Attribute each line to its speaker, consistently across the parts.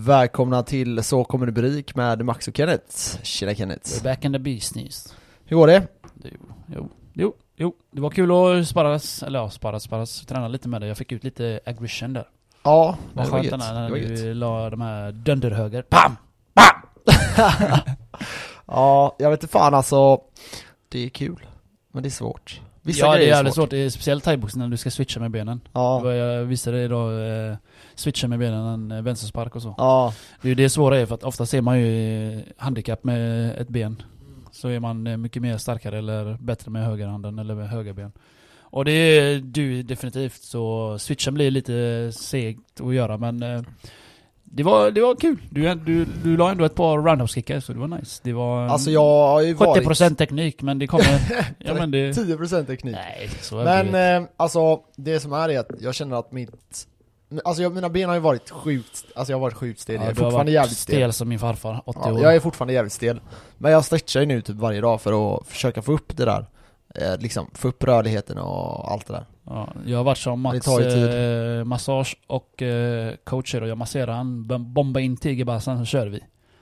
Speaker 1: Välkomna till Så kommer det bli rik med Max och Kenneth. Tjena Kenneth.
Speaker 2: Back in the business.
Speaker 1: Hur går det?
Speaker 2: Jo, jo, jo, jo. Det var kul att sparras, eller ja, sparras, sparras, träna lite med dig. Jag fick ut lite aggression där.
Speaker 1: Ja,
Speaker 2: Vad skönt den här när
Speaker 1: Det var gött.
Speaker 2: du la de här dunderhöger. PAM!
Speaker 1: Ja, jag vet inte fan alltså. Det är kul. Men det är svårt. Vissa
Speaker 2: ja, det är
Speaker 1: grejer är
Speaker 2: jävligt
Speaker 1: svårt.
Speaker 2: svårt. Det är Speciellt thaiboxning när du ska switcha med benen. Det
Speaker 1: Ja.
Speaker 2: var- Jag visade idag, eh, switcha med benen, en eh, vänsterspark och så.
Speaker 1: Ja.
Speaker 2: Det är ju det svåra är för att ofta ser man ju eh, handikapp med ett ben. Så är man eh, mycket mer starkare eller bättre med högerhanden eller med högerben. Och det är du definitivt så switchen blir lite segt att göra men eh, det var, det var kul. Du, du, du la ändå ett par roundhouse-kickar så det var nice. Det var mm,
Speaker 1: Alltså jag har ju varit...
Speaker 2: 70% teknik men det kommer... ja men det...
Speaker 1: 10% teknik.
Speaker 2: Nej, så är det
Speaker 1: Men
Speaker 2: ju.
Speaker 1: eh, alltså, det som är är att jag känner att mitt... Alltså jag, mina ben har ju varit sjukt... Alltså jag har varit sjukt stel.
Speaker 2: Ja,
Speaker 1: jag är
Speaker 2: du har
Speaker 1: fortfarande
Speaker 2: varit
Speaker 1: jävligt stel.
Speaker 2: stel som min farfar, 80
Speaker 1: Ja,
Speaker 2: år.
Speaker 1: jag är fortfarande jävligt stel. Men jag stretchar ju nu typ varje dag för att försöka få upp det där. Eh, liksom, få upp rörligheten och allt det där.
Speaker 2: Ja, jag har varit som Max
Speaker 1: Det tar ju
Speaker 2: eh, massage och eh, coacher och jag masserar han, bom- bombar in tigerbalsan så kör vi.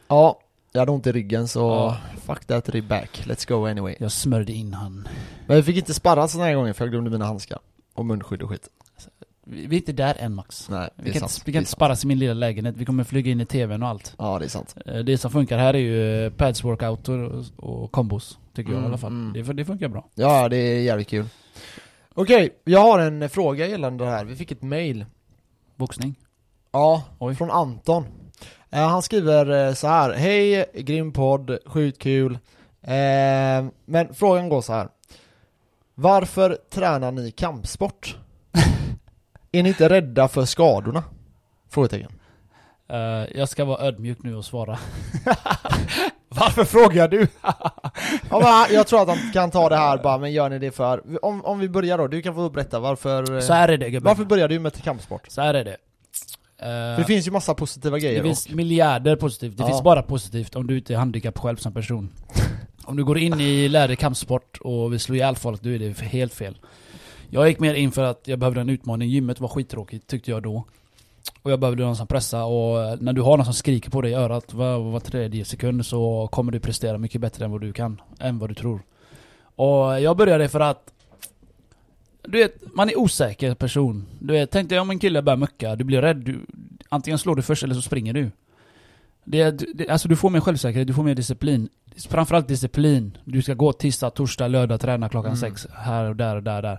Speaker 1: Ja, jag hade ont i ryggen så
Speaker 2: Ja.
Speaker 1: fuck that rib back, let's go anyway.
Speaker 2: Jag smörjde in han.
Speaker 1: Men vi fick inte sparra såna här gånger för jag glömde mina handskar. Och munskydd och skit.
Speaker 2: Vi, vi är inte där än Max.
Speaker 1: Nej, det
Speaker 2: Vi
Speaker 1: är
Speaker 2: kan,
Speaker 1: sant.
Speaker 2: inte- vi kan
Speaker 1: det är
Speaker 2: inte
Speaker 1: sant.
Speaker 2: sparras i min lilla lägenhet, vi kommer flyga in i tvn och allt.
Speaker 1: Ja, det är sant.
Speaker 2: Eh, Det som funkar här är ju eh, pads workouter och, och combos, tycker jag i
Speaker 1: Mm,
Speaker 2: alla fall.
Speaker 1: mm.
Speaker 2: Det, fun- det funkar bra.
Speaker 1: Ja, det är jävligt kul. Okej, jag har en fråga gällande det här. Vi fick ett mail.
Speaker 2: Boxning.
Speaker 1: Ja,
Speaker 2: Oj.
Speaker 1: från Anton. Eh, han skriver eh, så här. Hej, grym podd, sjukt kul. Eh, men frågan går så här. Varför tränar ni kampsport? är ni inte rädda för skadorna? Frågetecken.
Speaker 2: Eh, jag ska vara ödmjuk nu och svara.
Speaker 1: Varför frågar du? ja, men jag tror att han kan ta det här bara, men gör ni det för... Om, om vi börjar då, du kan få berätta varför... eh,
Speaker 2: Så här är det gubben.
Speaker 1: varför började du med kampsport?
Speaker 2: Så här är det. Eh,
Speaker 1: För det finns ju massa positiva grejer.
Speaker 2: Det
Speaker 1: och-
Speaker 2: finns miljarder positivt. Det
Speaker 1: Ja.
Speaker 2: finns bara positivt om du inte är handikapp själv som person. Om du går in i lärde kampsport och vill slå ihjäl folk, då är det helt fel. Jag gick mer in för att jag behövde en utmaning. Gymmet var skittråkigt tyckte jag då. Och jag behövde någon som pressar och eh, när du har någon som skriker på dig i örat var, var tredje sekund så kommer du prestera mycket bättre än vad du kan, än vad du tror. Och jag började för att du vet, man är osäker person. Du vet, tänk dig om en kille börjar mucka, du blir rädd. Du, antingen slår du först eller så springer du. Det, är- det, alltså du får mer självsäkerhet, du får mer disciplin. Framförallt disciplin. Du ska gå tisdag, torsdag, lördag, träna klockan
Speaker 1: Mm.
Speaker 2: sex. Här och där och där och där.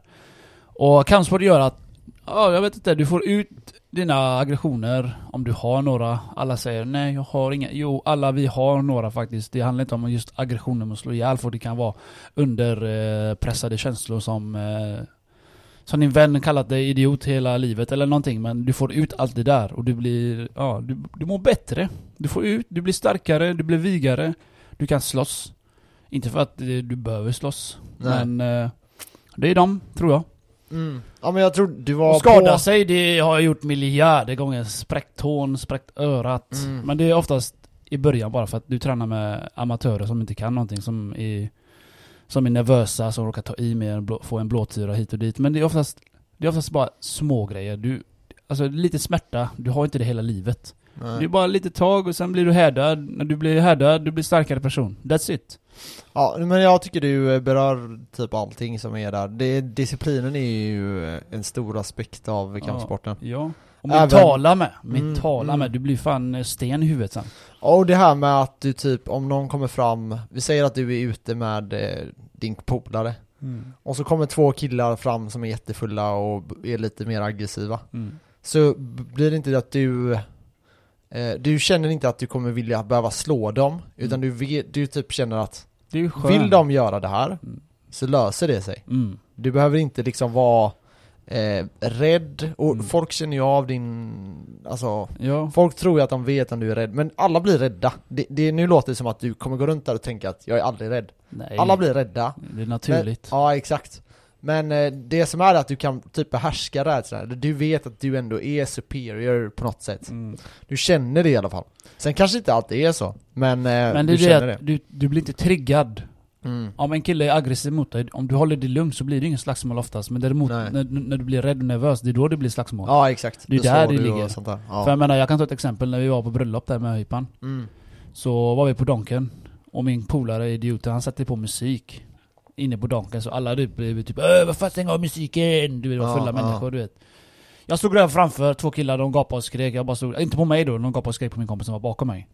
Speaker 2: Och kampsport gör att, ja jag vet inte, du får ut dina aggressioner om du har några. Alla säger nej jag har inga. Jo alla vi har några faktiskt. Det handlar inte om just aggressioner mot att slå ihjäl folk. Det kan vara underpressade eh, pressade känslor som eh, som din vän kallat dig idiot hela livet eller någonting men du får ut allt det där och du blir, ja du, du mår bättre. Du får ut, du blir starkare, du blir vigare, du kan slåss. Inte för att eh, du behöver slåss
Speaker 1: Nej.
Speaker 2: men eh, det är de, tror jag.
Speaker 1: Mm. Ja men jag tror du var
Speaker 2: Och skada
Speaker 1: på...
Speaker 2: sig, det har jag gjort miljarder gånger. Spräckt tån, spräckt örat.
Speaker 1: Mm.
Speaker 2: Men det är oftast i början bara för att du tränar med amatörer som inte kan någonting, som är, som är nervösa, som råkar ta i mer, blå- få en blåtira hit och dit. Men det är oftast, det är oftast bara små grejer. Du, alltså lite smärta, du har inte det hela livet. Det är
Speaker 1: Nej.
Speaker 2: bara lite tag och sen blir du härdad. När du blir härdad, du blir starkare person. That's it.
Speaker 1: Ja men jag tycker du eh, berör typ allting som är där. Det, disciplinen är ju eh, en stor aspekt av
Speaker 2: Ja.
Speaker 1: kampsporten.
Speaker 2: Ja. Och
Speaker 1: Även-
Speaker 2: mentala med. Mentala
Speaker 1: Mm, mm.
Speaker 2: med. Du blir fan eh, sten i huvudet sen.
Speaker 1: Ja, Och det här med att du typ, om någon kommer fram, vi säger att du är ute med eh, din polare. Och så kommer två killar fram som är jättefulla och b- är lite mer aggressiva.
Speaker 2: Mm.
Speaker 1: Så b- blir det inte att du, eh, du känner inte att du kommer vilja behöva slå dem. Utan
Speaker 2: Mm.
Speaker 1: du, vet- du typ känner att
Speaker 2: Det är ju skönt.
Speaker 1: vill de göra det här
Speaker 2: Mm.
Speaker 1: så löser det sig.
Speaker 2: Mm.
Speaker 1: Du behöver inte liksom vara eh, rädd, och
Speaker 2: Mm.
Speaker 1: folk känner ju av din, alltså
Speaker 2: Ja.
Speaker 1: Folk tror ju att de vet om du är rädd, men alla blir rädda. Det, det, nu låter det som att du kommer gå runt där och tänka att jag är aldrig rädd.
Speaker 2: Nej.
Speaker 1: Alla blir rädda.
Speaker 2: Det är naturligt.
Speaker 1: Ja, exakt. Men eh, det som är att du kan typ behärska rädslan. Du vet att du ändå är superior på något sätt.
Speaker 2: Mm.
Speaker 1: Du känner det i alla fall. Sen kanske inte alltid är så, men, eh,
Speaker 2: Men det
Speaker 1: du
Speaker 2: är
Speaker 1: känner
Speaker 2: det, att
Speaker 1: det.
Speaker 2: Du, du blir inte triggad.
Speaker 1: Mm.
Speaker 2: Om en kille är aggressiv mot dig, om du håller dig lugn så blir det ingen slagsmål oftast. Men däremot
Speaker 1: Nej.
Speaker 2: när, när du blir rädd och nervös, det är då det blir slagsmål.
Speaker 1: Ja exakt.
Speaker 2: Det är
Speaker 1: Då
Speaker 2: där
Speaker 1: slår
Speaker 2: det
Speaker 1: du och
Speaker 2: ligger.
Speaker 1: Sånt där.
Speaker 2: För
Speaker 1: Ja.
Speaker 2: jag menar, jag kan ta ett exempel när vi var på bröllop där med Hypan.
Speaker 1: Mm.
Speaker 2: Så var vi på Donken och min polare idioten han satte på musik inne på Donken så alla typ blev typ Öh vad fan stäng av musiken! Du vet det var
Speaker 1: Ja,
Speaker 2: fulla
Speaker 1: ja.
Speaker 2: människor du vet. Jag stod där framför, två killar de gapade och skrek. Jag bara stod, inte på mig då, de gapade och skrek på min kompis som var bakom mig.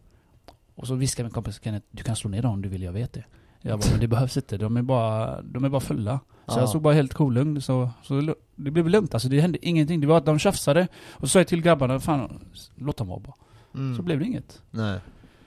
Speaker 2: Och så viskade min kompis Kenneth, du kan slå ner dem om du vill, jag vet det. Jag bara, men det behövs inte, de är bara, de är bara fulla. Så
Speaker 1: Ja.
Speaker 2: jag stod bara helt kolugn, så, så lu- det blev lugnt alltså, det hände ingenting. Det var att de tjafsade, och så sa jag till grabbarna, fan låt dem vara bara.
Speaker 1: Mm.
Speaker 2: Så blev det inget.
Speaker 1: Nej.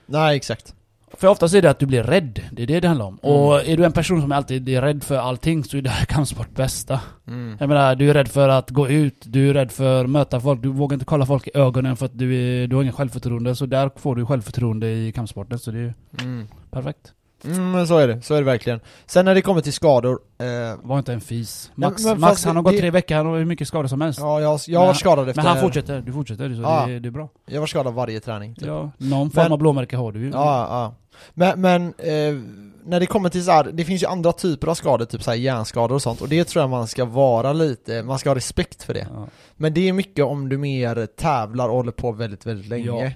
Speaker 1: Nej exakt.
Speaker 2: För oftast är det att du blir rädd, det är det det handlar om.
Speaker 1: Mm.
Speaker 2: Och är du en person som alltid är rädd för allting så är det här kampsport bästa.
Speaker 1: Mm.
Speaker 2: Jag menar, du är rädd för att gå ut, du är rädd för att möta folk, du vågar inte kolla folk i ögonen för att du, är, du har ingen självförtroende. Så där får du självförtroende i kampsporten, så det är ju
Speaker 1: Mm.
Speaker 2: perfekt.
Speaker 1: Mm, men så är det, så är det verkligen. Sen när det kommer till skador, eh,
Speaker 2: Var inte en fis.
Speaker 1: Nej,
Speaker 2: Max,
Speaker 1: men- men
Speaker 2: Max
Speaker 1: fast
Speaker 2: han har
Speaker 1: det-
Speaker 2: gått tre veckor, han har hur mycket skador som helst.
Speaker 1: ja jag, har- jag har
Speaker 2: Men-
Speaker 1: varit skadad efter...
Speaker 2: Men han fortsätter, du fortsätter, så
Speaker 1: Ja.
Speaker 2: det, är- det är bra.
Speaker 1: Jag var skadad varje träning typ.
Speaker 2: Ja, någon form
Speaker 1: Men-
Speaker 2: av blåmärke har du ju.
Speaker 1: Ja, ja. Men, men eh, när det kommer till så här, det finns ju andra typer av skador, typ så här hjärnskador och sånt, och det tror jag man ska vara lite, man ska ha respekt för det.
Speaker 2: Ja.
Speaker 1: Men det är mycket om du mer tävlar och håller på väldigt, väldigt länge.
Speaker 2: Ja.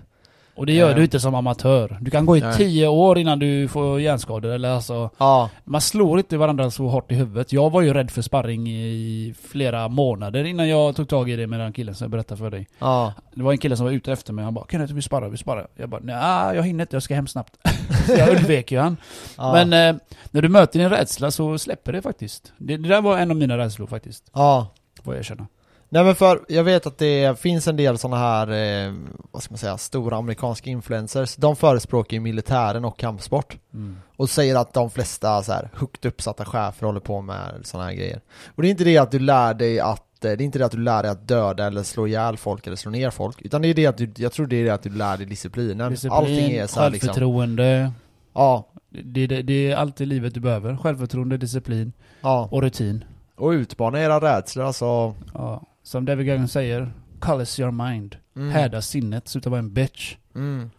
Speaker 2: Och det gör
Speaker 1: Ehm.
Speaker 2: du inte som amatör. Du kan gå i
Speaker 1: Nej.
Speaker 2: tio år innan du får hjärnskador, eller alltså
Speaker 1: Ja,
Speaker 2: Man slår inte varandra så hårt i huvudet. Jag var ju rädd för sparring i flera månader innan jag tog tag i det med den killen som jag berättade för dig.
Speaker 1: ja.
Speaker 2: Det var en kille som var ute efter mig, han bara 'Kan du inte vi sparrar, vi sparrar' Jag bara 'Nej, jag hinner inte, jag ska hem snabbt' Så jag undvek ju han.
Speaker 1: ja.
Speaker 2: Men eh, när du möter din rädsla så släpper det faktiskt. Det, det där var en av mina rädslor faktiskt,
Speaker 1: ja.
Speaker 2: får jag erkänna.
Speaker 1: Nej men för jag vet att det finns en del sådana här, eh, vad ska man säga, stora amerikanska influencers. De förespråkar ju militären och kampsport.
Speaker 2: Mm.
Speaker 1: Och säger att de flesta så här högt uppsatta chefer håller på med sådana här grejer. Och det är inte det att du lär dig att eh, det är inte det att du lär dig att döda eller slå ihjäl folk eller slå ner folk Utan det är det att du, jag tror det är det att du lär dig disciplinen Allting är så här liksom
Speaker 2: självförtroende.
Speaker 1: Ja,
Speaker 2: Det, det, det är allt i livet du behöver. Självförtroende, disciplin
Speaker 1: ja
Speaker 2: och rutin.
Speaker 1: Och utmana era rädslor alltså
Speaker 2: Ja. Som David Goggins säger, 'Colors your mind'
Speaker 1: mm,
Speaker 2: Häda sinnet, sluta vara en bitch.
Speaker 1: mm,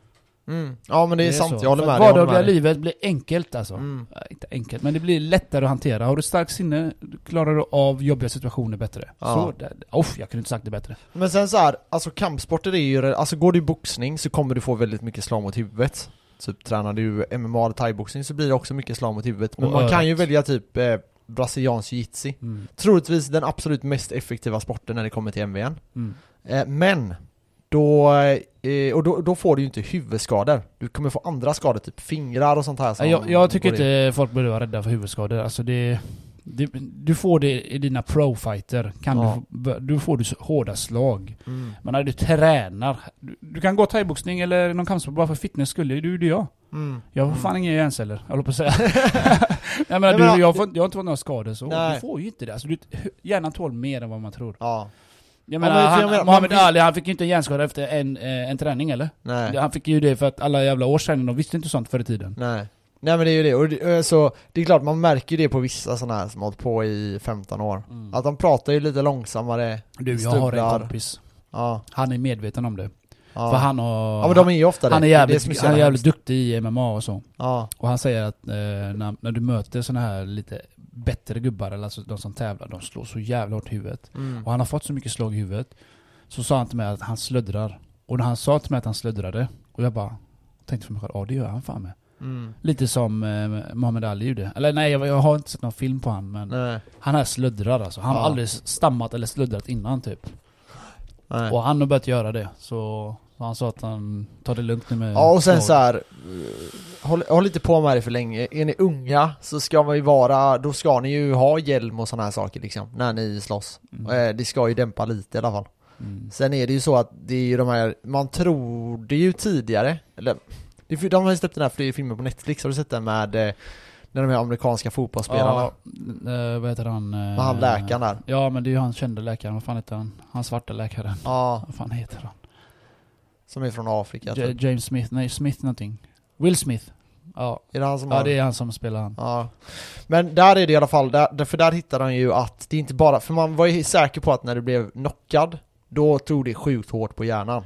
Speaker 1: mm. Ja men det är, sant,
Speaker 2: så.
Speaker 1: jag håller
Speaker 2: För
Speaker 1: med
Speaker 2: att
Speaker 1: dig, jag håller
Speaker 2: Vardagliga
Speaker 1: med dig.
Speaker 2: livet blir enkelt alltså.
Speaker 1: Mm.
Speaker 2: Ja, Inte enkelt, men det blir lättare att hantera. Har du starkt sinne klarar du av jobbiga situationer bättre.
Speaker 1: Ja.
Speaker 2: Så, där, uff, jag kunde inte sagt det bättre.
Speaker 1: Men sen så här, alltså kampsporter är ju, re- alltså går du i boxning så kommer du få väldigt mycket slag mot huvudet Typ tränar du MMA eller thaiboxning så blir det också mycket slag mot huvudet Men
Speaker 2: Och
Speaker 1: man kan
Speaker 2: örat.
Speaker 1: ju välja typ eh, brasiliansk jiu-jitsu
Speaker 2: Mm.
Speaker 1: Troligtvis den absolut mest effektiva sporten när det kommer till MVN
Speaker 2: Mm.
Speaker 1: eh, Men, då, eh, och då, då får du ju inte huvudskador Du kommer få andra skador, typ fingrar och sånt här som
Speaker 2: Jag, jag tycker
Speaker 1: går in.
Speaker 2: inte folk behöver vara rädda för huvudskador. Alltså det, det, du får det i dina pro-fighter. Kan
Speaker 1: Ja.
Speaker 2: du, få- bör- du får du så- hårda slag.
Speaker 1: Mm.
Speaker 2: Men när du tränar. Du, du kan gå thaiboxning eller någon kampsport bara för fitness skull. Det gjorde jag.
Speaker 1: Mm.
Speaker 2: Jag har
Speaker 1: Mm.
Speaker 2: fan inga hjärnceller, jag håller på att säga. jag, menar,
Speaker 1: Nej, men-
Speaker 2: du, jag, får, jag har inte fått några skador så.
Speaker 1: Nej.
Speaker 2: Du får ju inte det. Alltså, du, hjärnan tål mer än vad man tror.
Speaker 1: Ja,
Speaker 2: Jag
Speaker 1: men
Speaker 2: menar,
Speaker 1: jag
Speaker 2: han,
Speaker 1: menar, man
Speaker 2: Muhammad
Speaker 1: vill-
Speaker 2: Ali han fick ju inte en hjärnskada efter en, eh, en träning eller?
Speaker 1: nej
Speaker 2: Han fick ju det för att alla jävla år sedan, de visste inte sånt förr i tiden.
Speaker 1: Nej. Nej men det är ju det, och det, eh, så det är klart man märker ju det på vissa sådana här som har hållit på i 15 år
Speaker 2: Mm.
Speaker 1: Att de pratar ju lite långsammare,
Speaker 2: Du, jag har en
Speaker 1: Stubbar.
Speaker 2: kompis.
Speaker 1: ja,
Speaker 2: Han är medveten om det.
Speaker 1: ja.
Speaker 2: För han har...
Speaker 1: ja men de är ju ofta
Speaker 2: han, är
Speaker 1: det. det som
Speaker 2: jävligt,
Speaker 1: så
Speaker 2: han är
Speaker 1: jävla
Speaker 2: jävligt
Speaker 1: hemskt.
Speaker 2: duktig i MMA och så.
Speaker 1: Ja,
Speaker 2: Och han säger att eh, när, när du möter såna här lite bättre gubbar, eller alltså de som tävlar, de slår så jävla hårt i huvudet.
Speaker 1: mm.
Speaker 2: Och han har fått så mycket slag i huvudet. Så sa han till mig att han slöddrar. Och när han sa till mig att han slöddrade, och jag bara tänkte för mig själv, ja det gör han fan med.
Speaker 1: Mm.
Speaker 2: Lite som eh, Muhammad Ali gjorde. Eller nej, jag, jag har inte sett någon film på han men
Speaker 1: Nej,
Speaker 2: han här slöddrar alltså. Han
Speaker 1: Ja.
Speaker 2: har aldrig stammat eller slöddrat innan typ.
Speaker 1: nej.
Speaker 2: Och han har börjat göra det. Så, så han sa att han tar det lugnt nu med
Speaker 1: Ja och sen
Speaker 2: slag.
Speaker 1: så här. eh, Håll, håll inte på med det för länge, är ni unga så ska man ju vara, då ska ni ju ha hjälm och sådana här saker liksom, när ni slåss.
Speaker 2: Mm.
Speaker 1: Eh, Det ska ju dämpa lite i alla fall.
Speaker 2: Mm.
Speaker 1: Sen är det ju så att det är ju de här, man trodde ju tidigare, eller det är- de har ju släppt den här fl- filmen på Netflix, har du sett den med eh, när de här amerikanska fotbollsspelarna?
Speaker 2: Ja, eh, vad heter han? eh,
Speaker 1: Med han läkaren där?
Speaker 2: Ja men det är ju han kände läkaren, vad fan heter han? Han svarta läkaren.
Speaker 1: Ja,
Speaker 2: Vad fan heter han?
Speaker 1: som är från Afrika
Speaker 2: J-
Speaker 1: typ.
Speaker 2: James Smith, nej Smith någonting. Will Smith. Ja,
Speaker 1: Är det han som
Speaker 2: ja
Speaker 1: har?
Speaker 2: det är han som spelar han.
Speaker 1: Ja. Men där är det i alla fall, där, där- för där hittar han ju att det är inte bara, för man var ju säker på att när du blev knockad, då tog det sjukt hårt på hjärnan.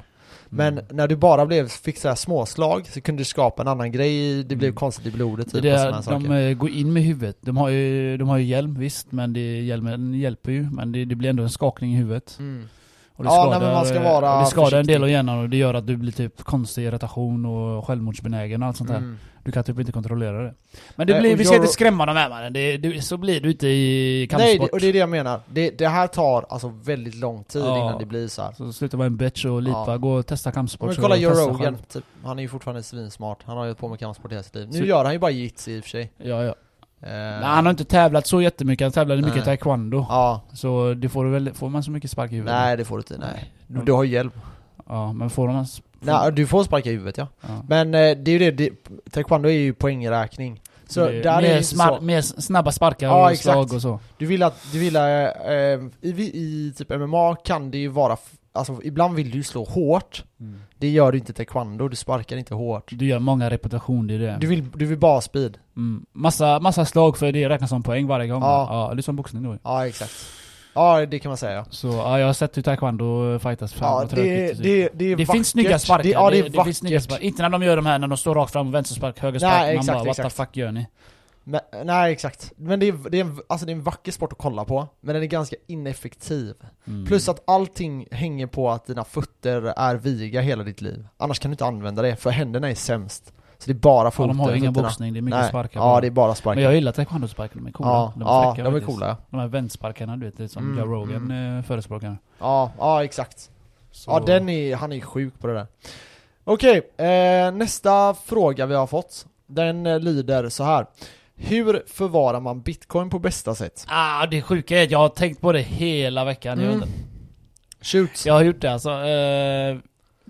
Speaker 1: Men
Speaker 2: Mm.
Speaker 1: när du bara blev, fick så här småslag så kunde du skapa en annan grej, det blev konstigt i blodet typ
Speaker 2: Mm. det
Speaker 1: och sådana
Speaker 2: är,
Speaker 1: här
Speaker 2: de
Speaker 1: saker.
Speaker 2: eh, går in med huvudet. De har ju, de har ju hjälm visst, men det, hjälmen hjälper ju. Men det, det blir ändå en skakning i huvudet.
Speaker 1: Mm.
Speaker 2: Och det
Speaker 1: Ja,
Speaker 2: skadar,
Speaker 1: nej, men man ska
Speaker 2: eh,
Speaker 1: vara
Speaker 2: och det skadar en
Speaker 1: försiktig.
Speaker 2: del av hjärnan och det gör att du blir typ konstig irritation och självmordsbenägen och allt sånt där.
Speaker 1: Mm.
Speaker 2: Du kan typ inte kontrollera det. Men det
Speaker 1: Nej,
Speaker 2: blir,
Speaker 1: och
Speaker 2: vi ska
Speaker 1: jag-
Speaker 2: inte skrämma dem här mannen. Det, det, så blir du inte i
Speaker 1: Nej,
Speaker 2: kampsport.
Speaker 1: det, och det är det jag menar. Det, det här tar alltså väldigt lång tid
Speaker 2: Ja.
Speaker 1: innan det blir så här.
Speaker 2: Så sluta vara en bitch och lipa.
Speaker 1: Ja.
Speaker 2: Gå och testa kampsport.
Speaker 1: Men
Speaker 2: så
Speaker 1: kolla Joe
Speaker 2: testa
Speaker 1: Rogan,
Speaker 2: själv.
Speaker 1: typ, han är ju fortfarande svinsmart. Han har ju hållit på med kampsport hela sitt liv. Nu
Speaker 2: Så-
Speaker 1: gör han ju bara jitsi i och för sig.
Speaker 2: Ja, ja.
Speaker 1: Eh,
Speaker 2: Nej, han har inte tävlat så jättemycket. Han tävlade mycket
Speaker 1: Nej.
Speaker 2: taekwondo.
Speaker 1: Ja,
Speaker 2: Så det får, du väl, får man så mycket spark i huvudet?
Speaker 1: nej det får du inte. Nej. Du, du har hjälp.
Speaker 2: Mm. Ja, men får man... s-
Speaker 1: Nej, du får sparka i huvudet ja.
Speaker 2: Ja.
Speaker 1: Men eh, det är ju det, det, taekwondo är ju poängräkning. Så
Speaker 2: Det-
Speaker 1: där
Speaker 2: mer,
Speaker 1: är det inte
Speaker 2: smar-
Speaker 1: så.
Speaker 2: mer s- snabba sparkar
Speaker 1: Ja,
Speaker 2: och
Speaker 1: exakt.
Speaker 2: slag och så.
Speaker 1: Du vill att, du vill, eh, eh, i, vi- i typ MMA kan det ju vara, f- alltså ibland vill du ju slå hårt. Det gör du inte i taekwondo, du sparkar inte hårt.
Speaker 2: Du gör många repetitioner, det är
Speaker 1: Du
Speaker 2: det.
Speaker 1: vill, du vill bara speed.
Speaker 2: Mm. Massa, massa slag för det räknas som poäng varje gång.
Speaker 1: Ja.
Speaker 2: Ja, det är som boxning då ju.
Speaker 1: Ja exakt. Ja det kan man säga ja.
Speaker 2: Så ja, jag har sett hur taekwondo fightas. Fan,
Speaker 1: Ja
Speaker 2: vad
Speaker 1: det,
Speaker 2: tråkigt ser ut.
Speaker 1: det, det är
Speaker 2: typ. Det
Speaker 1: vackert.
Speaker 2: finns snygga sparkar.
Speaker 1: Det, ja det är
Speaker 2: det,
Speaker 1: vackert.
Speaker 2: finns snygga sparkar. Inte när de gör de här när de står rakt fram, och vänsterspark, högerspark.
Speaker 1: Nej,
Speaker 2: Man
Speaker 1: exakt,
Speaker 2: bara what
Speaker 1: exakt.
Speaker 2: the fuck gör ni?
Speaker 1: Men, nej exakt. Men det är, det, är en, alltså, det är en vacker sport att kolla på, men den är ganska ineffektiv.
Speaker 2: Mm.
Speaker 1: Plus att allting hänger på att dina fötter är viga hela ditt liv. Annars kan du inte använda det, för händerna är sämst. Så det är bara
Speaker 2: ja,
Speaker 1: foten.
Speaker 2: de har ju ingen
Speaker 1: fötterna.
Speaker 2: boxning, det är mycket
Speaker 1: Nej.
Speaker 2: sparkar. bara.
Speaker 1: Ja det är bara sparkar.
Speaker 2: Men jag gillar taekwondo-sparkar, de är coola.
Speaker 1: ja,
Speaker 2: de är
Speaker 1: ja,
Speaker 2: fräcka
Speaker 1: de är
Speaker 2: faktiskt.
Speaker 1: coola ja.
Speaker 2: De här vändsparkarna du vet, det är som
Speaker 1: Mm,
Speaker 2: Joe Rogan eh, förespråkar.
Speaker 1: Ja, ja exakt.
Speaker 2: Så-
Speaker 1: Ja den är, han är sjuk på det där. Okej, eh, nästa fråga vi har fått. Den eh, lyder så här. Hur förvarar man bitcoin på bästa sätt?
Speaker 2: Ah, det sjuka är att jag har tänkt på det hela veckan. Jag,
Speaker 1: Mm.
Speaker 2: vet inte.
Speaker 1: Shoot.
Speaker 2: jag har gjort det alltså. Eh,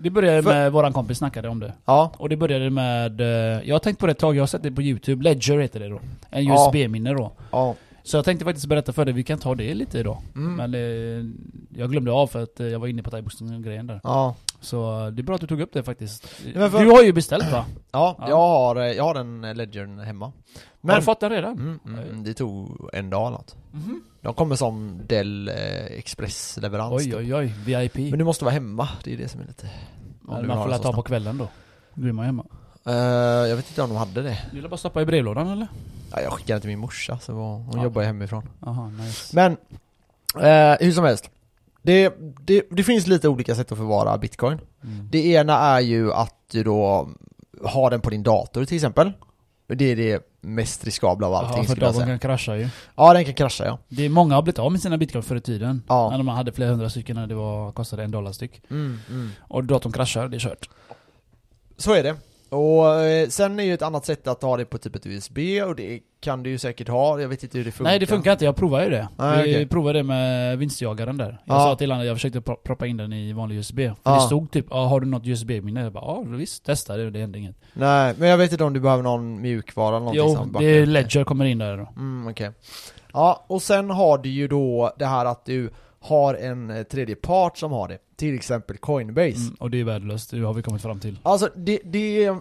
Speaker 2: det började
Speaker 1: För-
Speaker 2: med, våran kompis snackade om det.
Speaker 1: Ja.
Speaker 2: Och det började med, eh, jag har tänkt på det ett tag, jag har sett det på youtube, Ledger heter det då. En
Speaker 1: Ja.
Speaker 2: USB-minne då.
Speaker 1: ja.
Speaker 2: Så jag tänkte faktiskt berätta för dig, vi kan ta det lite idag.
Speaker 1: Mm.
Speaker 2: Men eh, jag glömde av för att eh, jag var inne på thaiboxning-grejen där.
Speaker 1: Ja,
Speaker 2: Så eh, det är bra att du tog upp det faktiskt.
Speaker 1: men för-
Speaker 2: Du har ju beställt va?
Speaker 1: ja,
Speaker 2: Ja.
Speaker 1: Jag, har, eh, jag har den eh, ledgern hemma.
Speaker 2: Har du fått Mhm. den redan?
Speaker 1: Mm, mm, det tog en dag eller något. De kommer som Dell eh, Express-leverans.
Speaker 2: Oj oj oj, VIP.
Speaker 1: Men du måste vara hemma, det är det som är lite... om du
Speaker 2: Men
Speaker 1: vill ha
Speaker 2: man får
Speaker 1: det
Speaker 2: la
Speaker 1: så
Speaker 2: ta på
Speaker 1: snabbt.
Speaker 2: kvällen då. Då alltså är man hemma.
Speaker 1: Eh, jag vet inte om de hade det.
Speaker 2: Du vill bara stoppa i brevlådan eller?
Speaker 1: Ja, jag skickade till min morsa, så hon hon
Speaker 2: Ja.
Speaker 1: jobbar ju hemifrån.
Speaker 2: Aha, nice.
Speaker 1: Men, eh, hur som helst. Det, det, det finns lite olika sätt att förvara bitcoin.
Speaker 2: Mm.
Speaker 1: Det ena är ju att du då har den på din dator till exempel. Det är det mest riskabla av allting
Speaker 2: ja, för
Speaker 1: skulle jag
Speaker 2: datorn
Speaker 1: säga.
Speaker 2: kan krascha ju.
Speaker 1: Ja, den kan krascha ja.
Speaker 2: Det är många har blivit av med sina bitcoin förr i tiden.
Speaker 1: Ja.
Speaker 2: När man hade flera hundra stycken när det var, kostade en dollar styck.
Speaker 1: Mm, mm.
Speaker 2: Och datorn kraschar, det är kört.
Speaker 1: Så är det. Och eh, sen är ju ett annat sätt att ha det på typ ett USB och det kan du ju säkert ha. Jag vet inte hur det funkar.
Speaker 2: Nej det funkar inte, jag provade ju det.
Speaker 1: Nej,
Speaker 2: Vi
Speaker 1: okej.
Speaker 2: provade det med vinstjagaren där. Jag
Speaker 1: Ja.
Speaker 2: sa till honom att jag försökte pro- proppa in den i vanlig USB. För
Speaker 1: Ja.
Speaker 2: det stod typ "Ah, 'Har du något USB-minne?' Jag bara 'Ja visst, testa det, det hände inget'
Speaker 1: Nej, men jag vet inte om du behöver någon mjukvara eller någonting
Speaker 2: Jo,
Speaker 1: som backar
Speaker 2: det
Speaker 1: upp
Speaker 2: Ledger kommer in där då.
Speaker 1: Mm, okej. Ja, och sen har du ju då det här att du har en eh, tredje part som har det. Till exempel Coinbase.
Speaker 2: Mm, och det är värdelöst, det har vi kommit fram till.
Speaker 1: Alltså det, det,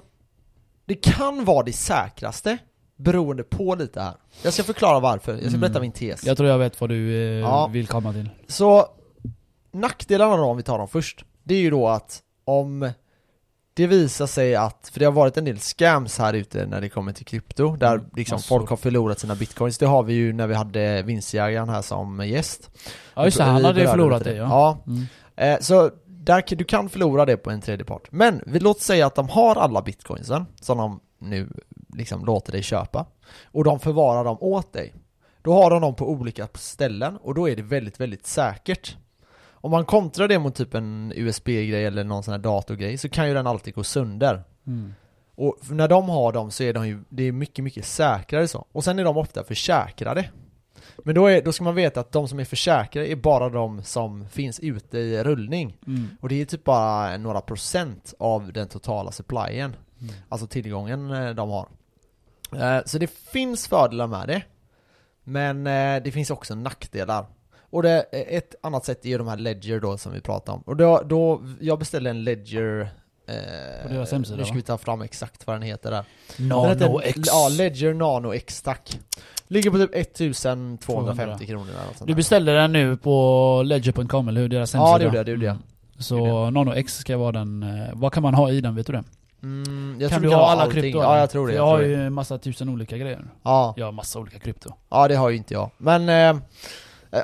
Speaker 1: det kan vara det säkraste beroende på lite här. Jag ska förklara varför, jag ska
Speaker 2: Mm.
Speaker 1: berätta min tes.
Speaker 2: Jag tror jag vet vad du eh,
Speaker 1: Ja.
Speaker 2: vill komma till.
Speaker 1: Så nackdelarna då om vi tar dem först, det är ju då att om det visar sig att, för det har varit en del scams här ute när det kommer till krypto, där
Speaker 2: Mm,
Speaker 1: liksom
Speaker 2: massor.
Speaker 1: folk har förlorat sina bitcoins. Det har vi ju när vi hade vinstjägaren här som gäst.
Speaker 2: Ja just det, han
Speaker 1: Vi
Speaker 2: hade ju
Speaker 1: berörde
Speaker 2: förlorat
Speaker 1: lite
Speaker 2: det ja.
Speaker 1: ja.
Speaker 2: Mm.
Speaker 1: Eh, Så där, kan- du kan förlora det på en tredje part. Men vi låter säga att de har alla bitcoinsen som de nu liksom låter dig köpa och de förvarar dem åt dig. Då har de dem på olika ställen och då är det väldigt, väldigt säkert. Om man kontrar det mot typ en USB-grej eller någon sån här datorgrej så kan ju den alltid gå sönder.
Speaker 2: Mm.
Speaker 1: Och när de har dem så är de ju, det är mycket, mycket säkrare så. Och sen är de ofta försäkrade. Men då, är, då ska man veta att de som är försäkrade är bara de som finns ute i rullning.
Speaker 2: Mm.
Speaker 1: Och det är typ bara några procent av den totala supplyen.
Speaker 2: Mm.
Speaker 1: Alltså tillgången eh, de har. Eh, Så det finns fördelar med det. Men eh, det finns också nackdelar. Och det, ett annat sätt är ju de här Ledger då som vi pratade om. Och då, då jag beställde en Ledger eh,
Speaker 2: På deras hemsida,
Speaker 1: Nu ska
Speaker 2: va?
Speaker 1: vi ta fram exakt vad den heter där. Den heter-
Speaker 2: Nano X.
Speaker 1: Ja, Ledger Nano X, tack. Ligger på typ 1250
Speaker 2: 200.
Speaker 1: kronor eller något sånt
Speaker 2: Du
Speaker 1: där.
Speaker 2: beställde den nu på ledger.com eller hur? Deras
Speaker 1: Ja,
Speaker 2: hemsida.
Speaker 1: det gjorde jag, det gjorde jag.
Speaker 2: Mm. Så NanoX ska vara den, eh, vad kan man ha i den vet du det?
Speaker 1: Mm, jag
Speaker 2: kan
Speaker 1: tror
Speaker 2: du
Speaker 1: det
Speaker 2: ha
Speaker 1: var
Speaker 2: alla
Speaker 1: allting.
Speaker 2: krypton?
Speaker 1: Ja, jag tror det.
Speaker 2: För
Speaker 1: Jag
Speaker 2: jag har
Speaker 1: tror det.
Speaker 2: ju en massa tusen olika grejer.
Speaker 1: Ja.
Speaker 2: Jag har massa olika krypto.
Speaker 1: ja, det har ju inte jag. Men, eh,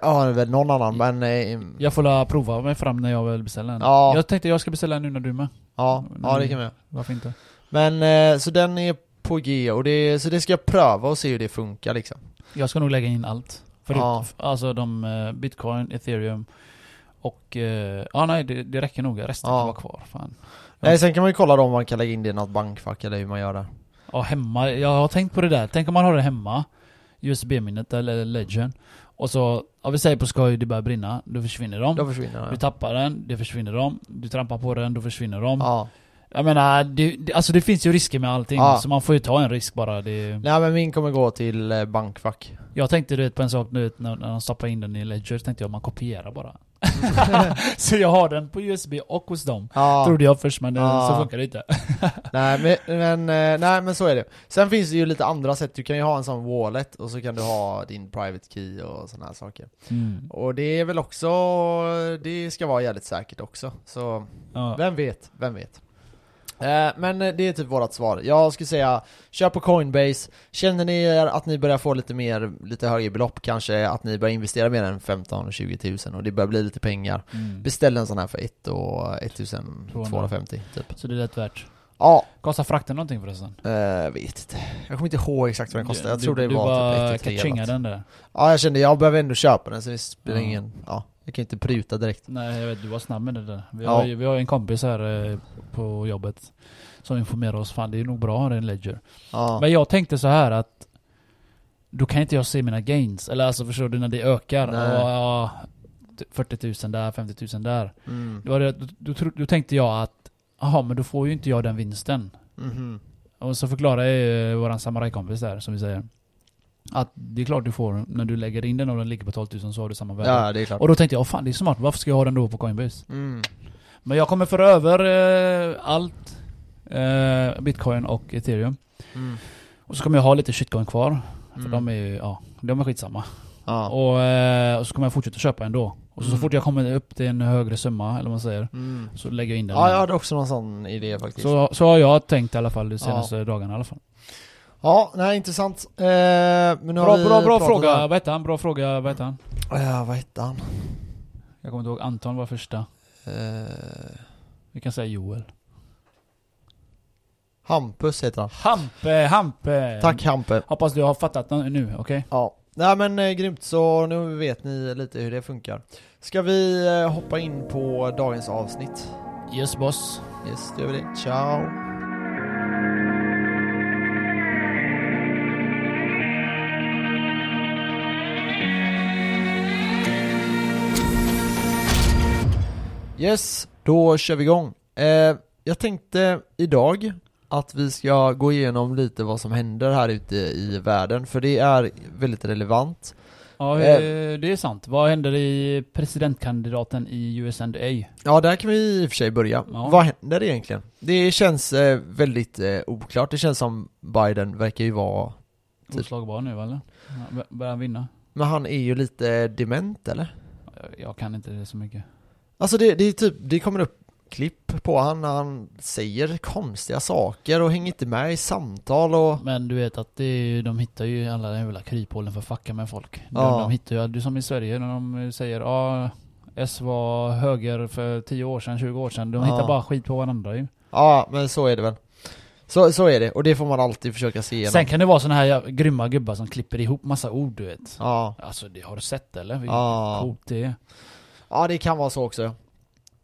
Speaker 1: ja det är väl någon annan men, eh,
Speaker 2: Jag får la prova mig fram när jag väl beställer en.
Speaker 1: Ja.
Speaker 2: Jag tänkte jag ska beställa en nu när du är med.
Speaker 1: ja, ja det kan vi
Speaker 2: Varför inte?
Speaker 1: Men, eh, så den är på G och det, så det ska jag pröva och se hur det funkar liksom.
Speaker 2: Jag ska nog lägga in allt. Förut,
Speaker 1: Ja.
Speaker 2: f- Alltså de eh, bitcoin, ethereum och... eh, Ja nej, det, det räcker nog. Resten
Speaker 1: Ja.
Speaker 2: kan vara kvar. Fan.
Speaker 1: Nej, sen kan man ju kolla då om man kan lägga in det i något bankfack eller hur man gör det.
Speaker 2: Ja, hemma. Jag har tänkt på det där. Tänk om man har det hemma. USB-minnet eller Legend. Och så, ja, vi säger på skoj, det börjar brinna. Då försvinner de.
Speaker 1: Då försvinner
Speaker 2: Du
Speaker 1: det.
Speaker 2: tappar den, det försvinner de. Du trampar på den, då försvinner de.
Speaker 1: Ja.
Speaker 2: Jag menar, det, det, alltså det finns ju risker med allting.
Speaker 1: Ja.
Speaker 2: Så man får ju ta en risk bara. Det,
Speaker 1: Nej men min kommer gå till eh, bankfack.
Speaker 2: jag tänkte du vet, på en sak nu vet, när, när de stoppar in den i Ledger, tänkte jag man kopierar bara. så jag har den på USB och hos dem.
Speaker 1: Mm. Ja,
Speaker 2: Trodde jag först men eh,
Speaker 1: Ja.
Speaker 2: så funkar det inte.
Speaker 1: nej men, men, eh, nej men så är det. Sen finns det ju lite andra sätt, du kan ju ha en sån wallet och så kan du ha din private key och såna här saker.
Speaker 2: Mm.
Speaker 1: Och det är väl också, det ska vara jävligt säkert också. Så
Speaker 2: Ja.
Speaker 1: vem vet, vem vet. Eh, Men eh, det är typ vårat svar. Jag skulle säga, kör på Coinbase. Känner ni er att ni börjar få lite mer, lite högre belopp kanske, att ni börjar investera mer än 15-20 tusen och det börjar bli lite pengar.
Speaker 2: Mm.
Speaker 1: Beställ en sån här för 1 och 1250 typ.
Speaker 2: Så det är lätt värt.
Speaker 1: Ja,
Speaker 2: Kostar frakten någonting förresten?
Speaker 1: eh, vet inte. Jag kommer inte ihåg exakt vad den kostade. Jag
Speaker 2: Du-
Speaker 1: tror det
Speaker 2: du,
Speaker 1: var
Speaker 2: bara
Speaker 1: typ 1
Speaker 2: katchingar
Speaker 1: eller något.
Speaker 2: den där.
Speaker 1: Ja, jag kände jag behöver ändå köpa den så det spelar
Speaker 2: Mm.
Speaker 1: ingen, ja, jag kan ju inte pruta direkt.
Speaker 2: Nej jag vet, du var snabb med det där. Vi,
Speaker 1: Ja.
Speaker 2: har, ju- vi har ju en kompis här eh, på jobbet som informerar oss. Fan det är nog bra att ha en Ledger.
Speaker 1: Ja.
Speaker 2: Men jag tänkte så här att då kan inte jag se mina gains. Eller alltså förstår du när det ökar.
Speaker 1: Nej.
Speaker 2: Och, ja, 40 000 där, 50 000 där.
Speaker 1: Mm.
Speaker 2: Då, var det, då, då, tro- då tänkte jag att jaha men då får ju inte jag den vinsten.
Speaker 1: Mhm.
Speaker 2: Och så förklarar jag ju eh, våran samurajkompis där som vi säger. Att det är klart du får, när du lägger in den och den ligger på 12 000 så har du samma värde.
Speaker 1: Ja, det är klart.
Speaker 2: Och då tänkte jag, "Åh, fan det är smart, varför ska jag ha den då på Coinbase?
Speaker 1: Mm.
Speaker 2: Men jag kommer föra över eh, allt. Eh, Bitcoin och ethereum.
Speaker 1: Mm.
Speaker 2: Och så kommer jag ha lite shitcoin kvar. För
Speaker 1: Mm.
Speaker 2: de är ju, ja, de är skitsamma.
Speaker 1: Ja.
Speaker 2: Och, eh, och så kommer jag fortsätta köpa ändå. Och så,
Speaker 1: Mm.
Speaker 2: så fort jag kommer upp till en högre summa, eller vad man säger,
Speaker 1: Mm.
Speaker 2: så lägger jag in den.
Speaker 1: ja, jag
Speaker 2: igen.
Speaker 1: hade också någon sån idé faktiskt.
Speaker 2: så, så har jag tänkt i alla fall de
Speaker 1: Ja.
Speaker 2: senaste dagarna i alla fall.
Speaker 1: Ja, nej intressant. Eh, men nu har
Speaker 2: Bra,
Speaker 1: vi
Speaker 2: bra, bra
Speaker 1: pratat
Speaker 2: fråga.
Speaker 1: där.
Speaker 2: Vad hette han? Bra fråga. Vad hette han?
Speaker 1: Eh, vad hette han?
Speaker 2: Jag kommer inte ihåg. Anton var första.
Speaker 1: Eh,
Speaker 2: Vi kan säga Joel.
Speaker 1: Hampus heter
Speaker 2: Mm.
Speaker 1: han.
Speaker 2: Hampe, Hampe!
Speaker 1: Tack Hampe.
Speaker 2: Hoppas du har fattat den nu, okej?
Speaker 1: Ja, nej men eh, grymt så nu vet ni lite hur det funkar. Ska vi eh, hoppa in på dagens avsnitt?
Speaker 2: Yes boss.
Speaker 1: Yes, då gör vi det. Ciao! Yes, då kör vi igång. Eh, jag tänkte idag att vi ska gå igenom lite vad som händer här ute i världen, för det är väldigt relevant.
Speaker 2: Ja,
Speaker 1: Eh.
Speaker 2: eh, det är sant. Vad händer i presidentkandidaten i US and A?
Speaker 1: Ja, där kan vi i och för sig börja.
Speaker 2: Ja.
Speaker 1: Vad händer egentligen? Det känns eh, väldigt eh, oklart. Det känns som Biden verkar ju vara Typ.
Speaker 2: Oslagbar nu eller? Ja, bör- Börjar han vinna?
Speaker 1: Men han är ju lite dement eller?
Speaker 2: Jag- Eh, Jag kan inte det så mycket.
Speaker 1: Alltså det, det är typ, det kommer upp klipp på han när han säger konstiga saker och hänger inte med i samtal och
Speaker 2: Men du vet att det är, ju- de hittar ju alla jävla kryphålen för att fucka med folk. De,
Speaker 1: Ja.
Speaker 2: de hittar ju, du som i Sverige när de säger ja, S var höger för 10 år sedan, 20 år sedan. De
Speaker 1: Ja.
Speaker 2: hittar bara skit på varandra ju.
Speaker 1: ja men så är det väl. Så, så är det och det får man alltid försöka se igenom.
Speaker 2: Sen kan det vara såna här jävla grymma gubbar som klipper ihop massa ord du vet.
Speaker 1: Ja,
Speaker 2: Alltså det har du sett eller? Vilket
Speaker 1: ja.
Speaker 2: coolt det är.
Speaker 1: ja, det kan vara så också.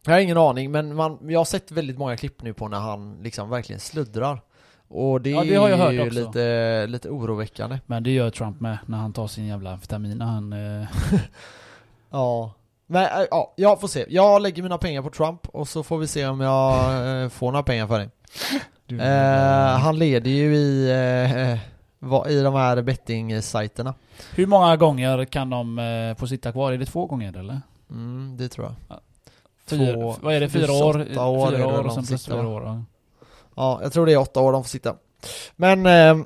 Speaker 1: Jag har ingen aning men man, jag har sett väldigt många klipp nu på när han liksom verkligen sluddrar. Och det,
Speaker 2: Ja, det har jag
Speaker 1: är
Speaker 2: hört
Speaker 1: ju
Speaker 2: också.
Speaker 1: lite, lite oroväckande.
Speaker 2: Men det gör Trump med när han tar sin jävla amfetamin när han... Eh,
Speaker 1: Ja. Men eh, ja, jag får se. Jag lägger mina pengar på Trump och så får vi se om jag eh, får några pengar för det.
Speaker 2: du,
Speaker 1: Eh, han leder ju i, eh, eh, va- i de här betting-sajterna.
Speaker 2: Hur många gånger kan de eh, få sitta kvar? Är det två gånger eller?
Speaker 1: Mm, det tror jag.
Speaker 2: Fyra,
Speaker 1: Två-
Speaker 2: vad är det? Fyra
Speaker 1: plus
Speaker 2: år?
Speaker 1: åtta år är det
Speaker 2: fyra år
Speaker 1: de
Speaker 2: och sen plus
Speaker 1: sitter,
Speaker 2: fyra
Speaker 1: va?
Speaker 2: år. ja.
Speaker 1: Ja, jag tror det är åtta år de får sitta. Men, eh,
Speaker 2: Jag har en
Speaker 1: Nej,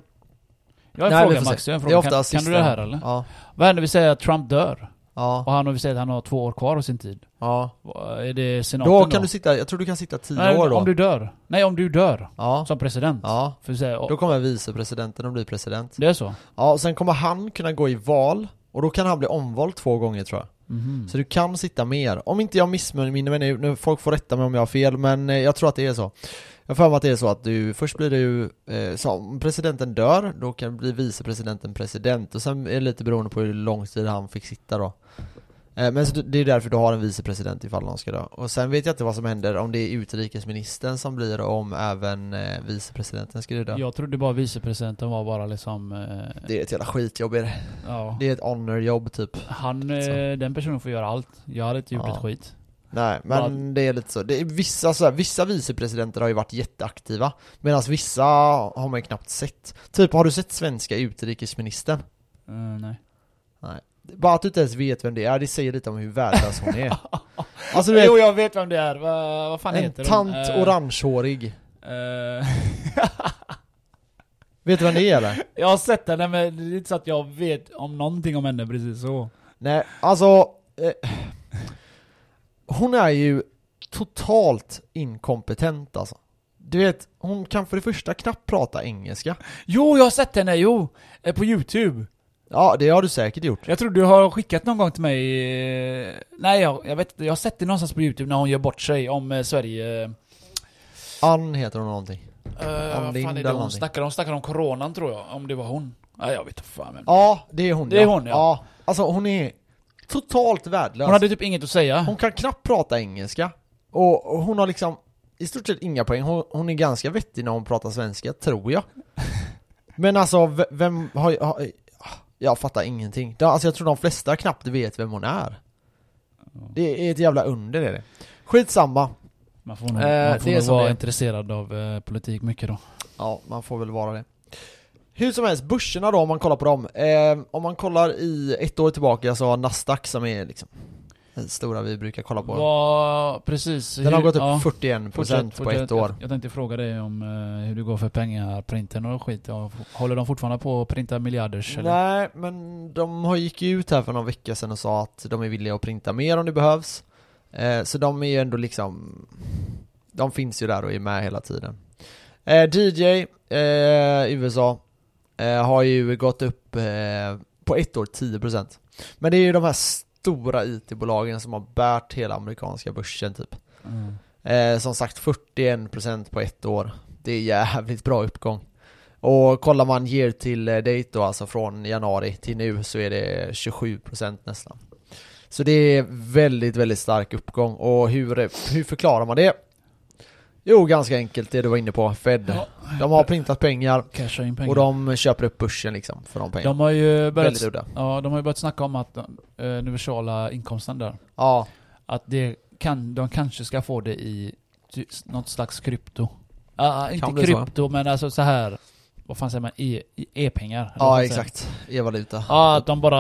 Speaker 1: vi
Speaker 2: fråga
Speaker 1: får se.
Speaker 2: Max, jag har en
Speaker 1: Det är
Speaker 2: fråga.
Speaker 1: ofta
Speaker 2: Kan, kan
Speaker 1: sista-
Speaker 2: du det här eller?
Speaker 1: ja.
Speaker 2: Vad händer om vi säger att Trump dör?
Speaker 1: Ja,
Speaker 2: Och han har vi sagt att han har två år kvar av sin tid.
Speaker 1: ja.
Speaker 2: Vad- Är det senaten
Speaker 1: Då kan du sitta, jag tror du kan sitta tio
Speaker 2: Nej,
Speaker 1: år då.
Speaker 2: Om du dör. Nej, om du dör.
Speaker 1: Ja,
Speaker 2: Som president.
Speaker 1: ja.
Speaker 2: För att säga,
Speaker 1: Då kommer vicepresidenten att bli president.
Speaker 2: det är så?
Speaker 1: Ja, och sen kommer han kunna gå i val och då kan han bli omvald två gånger tror jag.
Speaker 2: Mhm.
Speaker 1: Så du kan sitta mer. Om inte jag missminner mig nu, nu, folk får rätta mig om jag har fel, men eh, jag tror att det är så. Jag har för mig att det är så att du, först blir du, eh, så om presidenten dör, då kan bli vicepresidenten president och sen är det lite beroende på hur lång tid han fick sitta då. Eh, men så du- det är därför du har en vicepresident ifall någon ska dö. Och sen vet jag inte vad som händer om det är utrikesministern som blir och om även eh, vicepresidenten skulle dö.
Speaker 2: Jag trodde bara vicepresidenten var bara liksom... Eh,
Speaker 1: Det är ett jävla skitjobb är det.
Speaker 2: ja.
Speaker 1: Det är ett honor-jobb typ.
Speaker 2: Han, eh, den personen får göra allt. Jag hade inte gjort
Speaker 1: Ja.
Speaker 2: ett skit.
Speaker 1: Nej, men det är lite så. Det är vissa, så här, vissa vicepresidenter har ju varit jätteaktiva, medan vissa har man ju knappt sett. Typ, har du sett svenska utrikesministern?
Speaker 2: Eh, nej.
Speaker 1: Bara att du inte ens vet vem det är, det säger lite om hur värdelös hon är. Alltså du
Speaker 2: Jo,
Speaker 1: vet,
Speaker 2: jag vet vem det är. Va, vad fan
Speaker 1: en
Speaker 2: heter
Speaker 1: tant
Speaker 2: hon? Eh,
Speaker 1: orangehårig.
Speaker 2: eh,
Speaker 1: Vet du vem det är eller?
Speaker 2: jag har sett henne men det är inte så att jag vet om någonting om henne precis så.
Speaker 1: Nej, alltså... Eh, hon är ju totalt inkompetent alltså. Du vet, hon kan för det första knappt prata engelska.
Speaker 2: Jo, jag har sett henne, jo! Eh, På youtube.
Speaker 1: Ja, det har du säkert gjort.
Speaker 2: Jag tror du har skickat någon gång till mig... eh, Nej, jag, jag vet inte. Jag har sett det någonstans på youtube när hon gör bort sig om eh, Sverige... eh,
Speaker 1: Ann heter hon någonting.
Speaker 2: Eh, vad
Speaker 1: Lind
Speaker 2: fan är
Speaker 1: eller
Speaker 2: det hon
Speaker 1: någonting.
Speaker 2: snackar om? Hon snackar om coronan tror jag, om det var hon. Nej jag vet inte fan men.
Speaker 1: Ja, det är hon
Speaker 2: Det är hon, ja.
Speaker 1: Alltså hon är totalt värdelös.
Speaker 2: Hon
Speaker 1: Hon,
Speaker 2: hade typ inget att säga.
Speaker 1: kan knappt prata engelska. Och och hon har liksom i stort sett inga poäng. Hon, hon är ganska vettig när hon pratar svenska, tror jag. Men alltså, v- vem har... har jag fattar ingenting. Ja, Alltså jag tror de flesta knappt vet vem hon är. Det är ett jävla under är det. Skitsamma.
Speaker 2: Man får nog,
Speaker 1: Eh,
Speaker 2: man
Speaker 1: det
Speaker 2: får
Speaker 1: är
Speaker 2: nog
Speaker 1: som
Speaker 2: vara
Speaker 1: det är.
Speaker 2: intresserad av eh, politik mycket då.
Speaker 1: Ja, man får väl vara det. Hur som helst, börserna då om man kollar på dem. Eh, om man kollar i ett år tillbaka så har Nasdaq som är liksom den stora vi brukar kolla på.
Speaker 2: Vad, precis.
Speaker 1: Den har
Speaker 2: hur-
Speaker 1: gått upp
Speaker 2: ja,
Speaker 1: 41%
Speaker 2: fortsätt,
Speaker 1: på ett
Speaker 2: fortsätt.
Speaker 1: år.
Speaker 2: Jag, jag tänkte fråga dig om eh, hur det går för pengar, printen och skit. Ja, f- håller de fortfarande på att printa miljarders eller?
Speaker 1: Nej, men de har gick ju ut här för någon vecka sedan och sa att de är villiga att printa mer om det behövs. Eh, så de är ju ändå liksom, de finns ju där och är med hela tiden. Eh, DJ eh, USA eh, har ju gått upp eh, på ett år 10%. Men det är ju de här stora IT-bolagen som har bärt hela amerikanska börsen typ.
Speaker 2: Mm.
Speaker 1: Eh, som sagt 41% på ett år. Det är jävligt bra uppgång. Och kollar man year till eh, date då, alltså från januari till nu så är det 27% nästan. Så det är väldigt, väldigt stark uppgång. Och hur, hur förklarar man det? Jo, ganska enkelt det du var inne på, Fed.
Speaker 2: Ja.
Speaker 1: De har printat pengar
Speaker 2: Casha in pengar.
Speaker 1: och de köper upp börsen liksom för de pengarna.
Speaker 2: de har ju
Speaker 1: väldigt
Speaker 2: börjat,
Speaker 1: udda.
Speaker 2: ja, de har ju börjat snacka om att eh, universala inkomsten där.
Speaker 1: Ja,
Speaker 2: Att det kan, de kanske ska få det i ty- något slags krypto. Ah, ah, inte
Speaker 1: bli så, ja.
Speaker 2: krypto men alltså så här vad fan säger man? E- i- E-pengar? eller vad
Speaker 1: ja
Speaker 2: man säger.
Speaker 1: exakt. E-valuta.
Speaker 2: Ja, att de bara...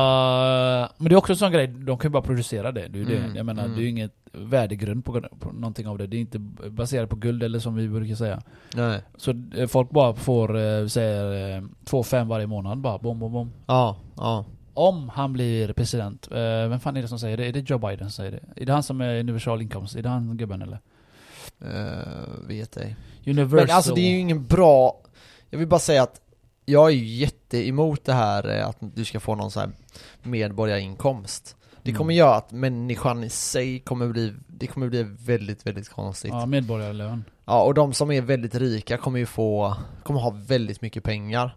Speaker 2: eh, Men det är också en sån grej, de kan ju bara producera det. det, är ju
Speaker 1: Mm,
Speaker 2: det. Jag menar,
Speaker 1: mm.
Speaker 2: det är ju inget värdegrund på, på någonting av det. Det är inte baserat på guld eller som vi brukar säga.
Speaker 1: Nej.
Speaker 2: Så eh, folk bara får, eh, säger, eh, 2-5 varje månad bara. Bom, bom, bom.
Speaker 1: Ja, ja.
Speaker 2: Om han blir president, eh, vem fan är det som säger det? Är det Joe Biden som säger det? Är det han som är universal inkomst? Är det han gubben eller?
Speaker 1: Eh, vet ej.
Speaker 2: Universal...
Speaker 1: Men alltså det är ju ingen bra Jag vill bara säga att Jag är ju jätte emot det här eh, att du ska få någon sån här medborgarinkomst Det
Speaker 2: Mm.
Speaker 1: kommer göra att människan i sig kommer bli Det kommer bli väldigt, väldigt konstigt
Speaker 2: Ja,
Speaker 1: Ja,
Speaker 2: medborgarlön.
Speaker 1: och de som är väldigt rika kommer ju få Kommer ha väldigt mycket pengar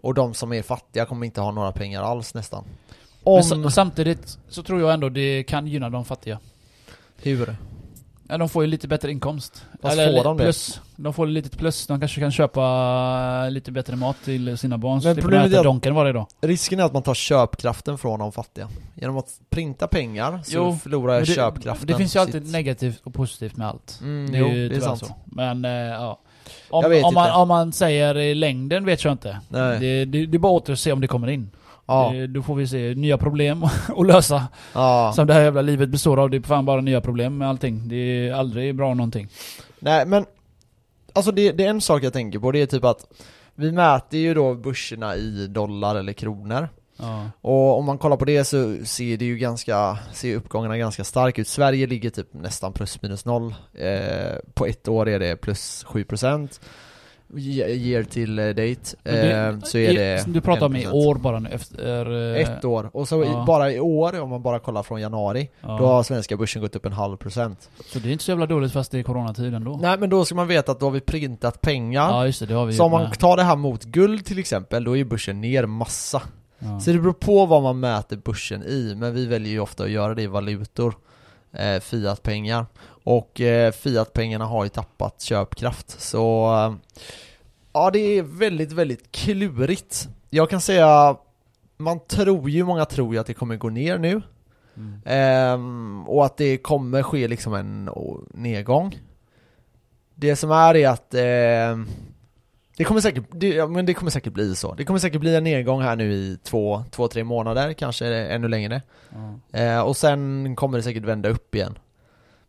Speaker 1: Och de som är fattiga kommer inte ha några pengar alls nästan Om
Speaker 2: Men sa- samtidigt så tror jag ändå det kan gynna de fattiga.
Speaker 1: hur?
Speaker 2: Ja, de får ju lite bättre inkomst.
Speaker 1: Fast får de det?
Speaker 2: plus. De får lite plus. De kanske kan köpa eh, lite bättre mat till sina barn.
Speaker 1: Men
Speaker 2: Så slipper de
Speaker 1: problemet är
Speaker 2: äta
Speaker 1: att-
Speaker 2: Donken varje dag.
Speaker 1: Risken är att man tar köpkraften från de fattiga Genom att printa pengar så
Speaker 2: Jo,
Speaker 1: förlorar jag
Speaker 2: Men
Speaker 1: köpkraften
Speaker 2: det finns ju alltid
Speaker 1: Sitt-
Speaker 2: negativt och positivt med allt.
Speaker 1: mm,
Speaker 2: är
Speaker 1: jo,
Speaker 2: ju
Speaker 1: det är
Speaker 2: tyvärr
Speaker 1: sant
Speaker 2: Så. Men eh, ja.
Speaker 1: Jag
Speaker 2: Om,
Speaker 1: vet
Speaker 2: om, man,
Speaker 1: inte.
Speaker 2: om man säger i längden vet jag inte.
Speaker 1: Nej.
Speaker 2: Det, det, det är bara åter att se om det kommer in.
Speaker 1: Ja,
Speaker 2: Det, då får vi se nya problem att lösa.
Speaker 1: ja.
Speaker 2: Som det här jävla livet består av. Det är fan bara nya problem med allting. Det är aldrig bra någonting.
Speaker 1: Nej men Alltså det, det är en sak jag tänker på, det är typ att Vi mäter ju då börserna i dollar eller kronor
Speaker 2: Ja.
Speaker 1: Och om man kollar på det så ser det ju ganska, ser uppgångarna ganska stark ut. Sverige ligger typ nästan plus minus noll. Eh, på ett år är det plus 7%. Ye- Year till eh, date
Speaker 2: Men
Speaker 1: eh, så är det
Speaker 2: Du pratar om i
Speaker 1: 1%.
Speaker 2: år bara nu efter... eh,
Speaker 1: Ett år. Och så
Speaker 2: Ja.
Speaker 1: i, bara i år, om man bara kollar från januari,
Speaker 2: Ja.
Speaker 1: då har svenska börsen gått upp en halv procent.
Speaker 2: Så det är inte så jävla dåligt fast det är coronatid ändå.
Speaker 1: Nej men då ska man veta att då har vi printat pengar.
Speaker 2: Ja just det, det har vi
Speaker 1: så om man
Speaker 2: med.
Speaker 1: tar det här mot guld till exempel, då är ju börsen ner massa.
Speaker 2: ja.
Speaker 1: Så det beror på vad man mäter börsen i, men vi väljer ju ofta att göra det i valutor, eh, fiatpengar. Och eh, fiatpengarna har ju tappat köpkraft, så eh, ja det är väldigt, väldigt klurigt. Jag kan säga, man tror ju, många tror ju att det kommer gå ner nu.
Speaker 2: Mm.
Speaker 1: Ehm, och att det kommer ske liksom en å, nedgång. Det som är är att ehm, det, kommer säkert, det, ja, men det kommer säkert bli så. Det kommer säkert bli en nedgång här nu i två, två tre månader, kanske ännu längre.
Speaker 2: Ja.
Speaker 1: Eh, och sen kommer det säkert vända upp igen.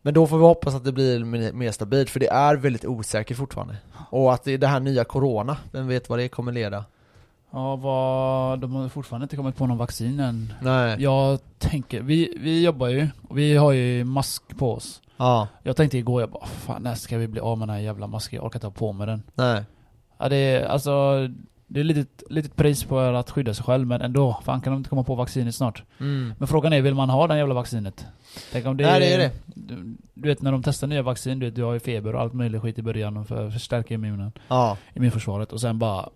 Speaker 1: Men då får vi hoppas att det blir mer- mer stabilt, för det är väldigt osäkert fortfarande. Och att det är det här nya corona, vem vet vad det kommer leda?
Speaker 2: ja vad, de har fortfarande inte kommit på någon vaccin än.
Speaker 1: Nej.
Speaker 2: Jag tänker, vi, vi jobbar ju, och vi har ju mask på oss.
Speaker 1: Ja,
Speaker 2: Jag tänkte igår, jag bara fan när ska vi bli av med den här jävla masken? Jag orkar inte ha på mig den.
Speaker 1: nej.
Speaker 2: Ja det är, alltså, det är litet, litet pris på att skydda sig själv men ändå, fan kan de inte komma på vaccinet snart?
Speaker 1: Mm.
Speaker 2: Men frågan är, vill man ha den jävla vaccinet? Tänk om det
Speaker 1: Nej, det är det.
Speaker 2: Du, du vet när de testar nya vaccin, du vet du har ju feber och allt möjligt skit i början för att förstärka immunen,
Speaker 1: Ja.
Speaker 2: immunförsvaret och sen bara...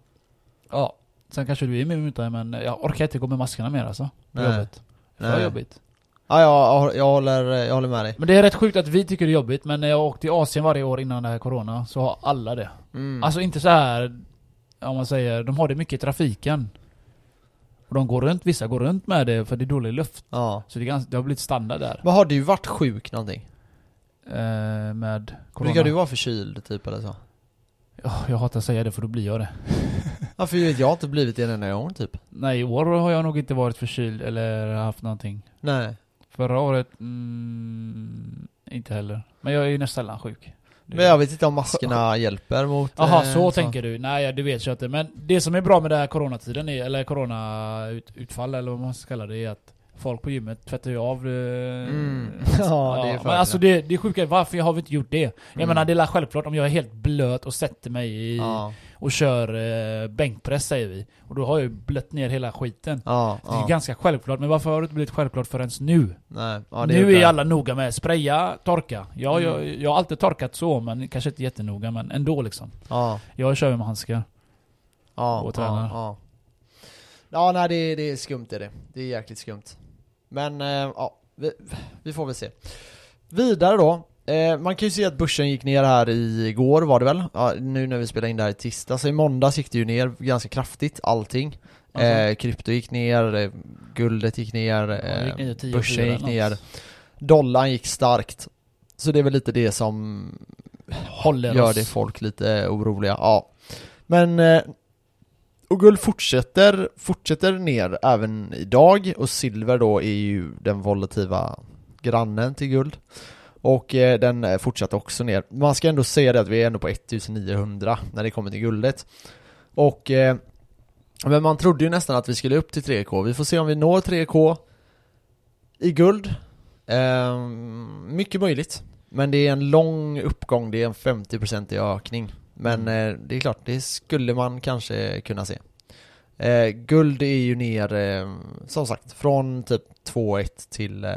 Speaker 2: Ja, sen kanske du är immun utan men jag orkar inte gå med maskerna mer alltså. Det är
Speaker 1: Nej.
Speaker 2: jobbigt. Det är
Speaker 1: Nej.
Speaker 2: jobbigt.
Speaker 1: Ja, jag, jag, håller, jag håller med dig.
Speaker 2: Men det är rätt sjukt att vi tycker det är jobbigt men när jag åkte till Asien varje år innan det här corona så har alla det.
Speaker 1: Mm.
Speaker 2: Alltså inte så här om man säger, de har det mycket i trafiken. Och de går runt, vissa går runt med det för det är dålig luft.
Speaker 1: Ja.
Speaker 2: Så det, är ganska, det har blivit standard där.
Speaker 1: Men har du varit sjuk någonting?
Speaker 2: Eh, med corona.
Speaker 1: Brukar du vara förkyld typ eller så?
Speaker 2: Ja, jag hatar att säga det för då blir jag det.
Speaker 1: Ja för jag har inte blivit det en enda gång typ
Speaker 2: Nej, i år har jag nog inte varit förkyld eller haft någonting.
Speaker 1: Nej
Speaker 2: Förra året, mm, inte heller. Men jag är ju nästan sällan sjuk. Det-
Speaker 1: Men jag vet inte om maskerna hjälper mot
Speaker 2: Jaha,
Speaker 1: eh,
Speaker 2: så tänker du. Nej, du vet jag inte. Men det som är bra med den här coronatiden, är, eller coronautfall eller vad man ska kalla det, är att folk på gymmet tvättar ju av... eh,
Speaker 1: Mm. Ja, det är
Speaker 2: men
Speaker 1: fördelar.
Speaker 2: alltså det, det är sjuka är, varför har vi inte gjort det? Jag
Speaker 1: Mm.
Speaker 2: menar, det är självklart om jag är helt blöt och sätter mig i,
Speaker 1: Ja,
Speaker 2: och kör eh, bänkpress säger vi. Och då har jag ju blött ner hela skiten.
Speaker 1: ja,
Speaker 2: Det är ju
Speaker 1: ja.
Speaker 2: ganska självklart, men varför har det inte blivit självklart förrän nu?
Speaker 1: Nej, ja, det
Speaker 2: nu är
Speaker 1: det.
Speaker 2: alla noga med spraya, torka. Jag,
Speaker 1: Mm.
Speaker 2: jag, jag har alltid torkat så, men kanske inte jättenoga, men ändå liksom.
Speaker 1: Ja,
Speaker 2: Jag kör ju med handskar.
Speaker 1: ja,
Speaker 2: Och
Speaker 1: ja,
Speaker 2: tränar.
Speaker 1: ja. ja nej det, är- det är skumt är det Det är jäkligt skumt Men eh, ja, vi, vi får väl se Vidare då Eh, man kan ju se att börsen gick ner här i igår var det väl? Ja, nu när vi spelar in det här i tisdag, så i måndags gick det ju ner ganska kraftigt allting
Speaker 2: Alltså,
Speaker 1: Eh, krypto gick ner, eh, guldet gick ner,
Speaker 2: jag
Speaker 1: eh,
Speaker 2: gick ner till 10
Speaker 1: börsen
Speaker 2: fyra
Speaker 1: gick
Speaker 2: eller något.
Speaker 1: dollarn gick starkt. Så det är väl lite det som
Speaker 2: Håller
Speaker 1: gör
Speaker 2: oss.
Speaker 1: det folk lite oroliga. Ja. Men eh, och guld fortsätter, fortsätter ner även idag och silver då är ju den volativa grannen till guld. Och eh, den eh, fortsatte också ner. Man ska ändå säga det att vi är ändå på 1900 när det kommer till guldet. Och eh, men man trodde ju nästan att vi skulle upp till 3K. Vi får se om vi når 3K i guld. Ehm, mycket möjligt. Men det är en lång uppgång, det är en 50% ökning. Men
Speaker 2: Mm.
Speaker 1: eh, det är klart, det skulle man kanske kunna se. Eh, guld är ju ner, eh, som sagt, från typ 2,1 till eh,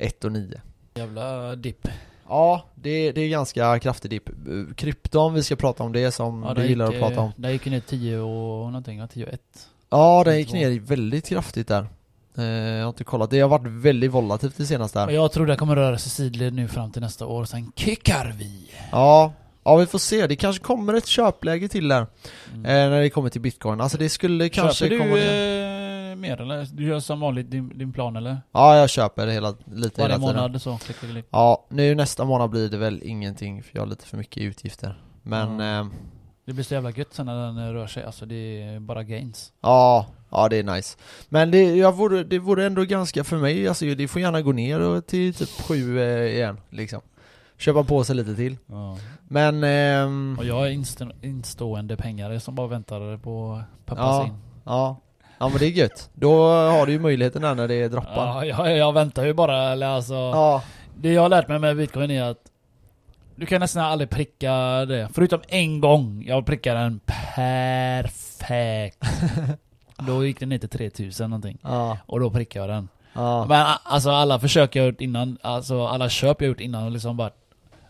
Speaker 1: 1,9.
Speaker 2: Jävla dipp.
Speaker 1: Mm, Ja, det, det är ganska kraftig dipp. Eh, Krypton, vi ska prata om det som
Speaker 2: Ja,
Speaker 1: du
Speaker 2: där
Speaker 1: gillar
Speaker 2: gick,
Speaker 1: att prata
Speaker 2: eh,
Speaker 1: om.
Speaker 2: Där gick ju ner 10 och någonting, ja, 10 och 1.
Speaker 1: Ja, den gick
Speaker 2: två.
Speaker 1: ner väldigt kraftigt där. Eh, jag har inte kollat, det har varit väldigt volatilt det senaste här.
Speaker 2: Och jag tror det kommer röra sig sidled nu fram till nästa år, sen kickar vi!
Speaker 1: Ja, ja vi får se. Det kanske kommer ett köpläge till där.
Speaker 2: Mm.
Speaker 1: Eh, när det kommer till bitcoin. Alltså det skulle kanske
Speaker 2: Köper
Speaker 1: komma
Speaker 2: du
Speaker 1: ner.
Speaker 2: eh, mer eller? Du gör som vanligt din, din plan eller?
Speaker 1: Ja, jag köper hela, lite
Speaker 2: Varje
Speaker 1: hela tiden.
Speaker 2: månad så, klick, klick, klick.
Speaker 1: Ja, nu nästa månad blir det väl ingenting för jag har lite för mycket utgifter. Men eh,
Speaker 2: Det blir så jävla gött sen när den eh, rör sig, alltså det är bara gains.
Speaker 1: ja, ja det är nice. Men det, jag vore, det vore ändå ganska för mig, alltså det får gärna gå ner och till typ sju eh, igen liksom. Köpa på sig lite till. Men ehm,
Speaker 2: Och jag är inst- instående pengar som bara väntar på att pumpas
Speaker 1: Ja.
Speaker 2: in.
Speaker 1: ja. Ja men det är gött. Då har du ju möjligheten där när det droppar.
Speaker 2: Ja, jag, jag väntar ju bara, eller alltså.
Speaker 1: Ja.
Speaker 2: Det jag har lärt mig med bitcoin är att du kan nästan aldrig pricka det. Förutom en gång. Jag prickade den perfekt. Då gick den ner till 3000 någonting.
Speaker 1: Ja.
Speaker 2: Och då prickade jag den.
Speaker 1: Ja.
Speaker 2: Men a- alltså alla försök jag gjort innan, alltså alla köp jag gjort innan har liksom bara...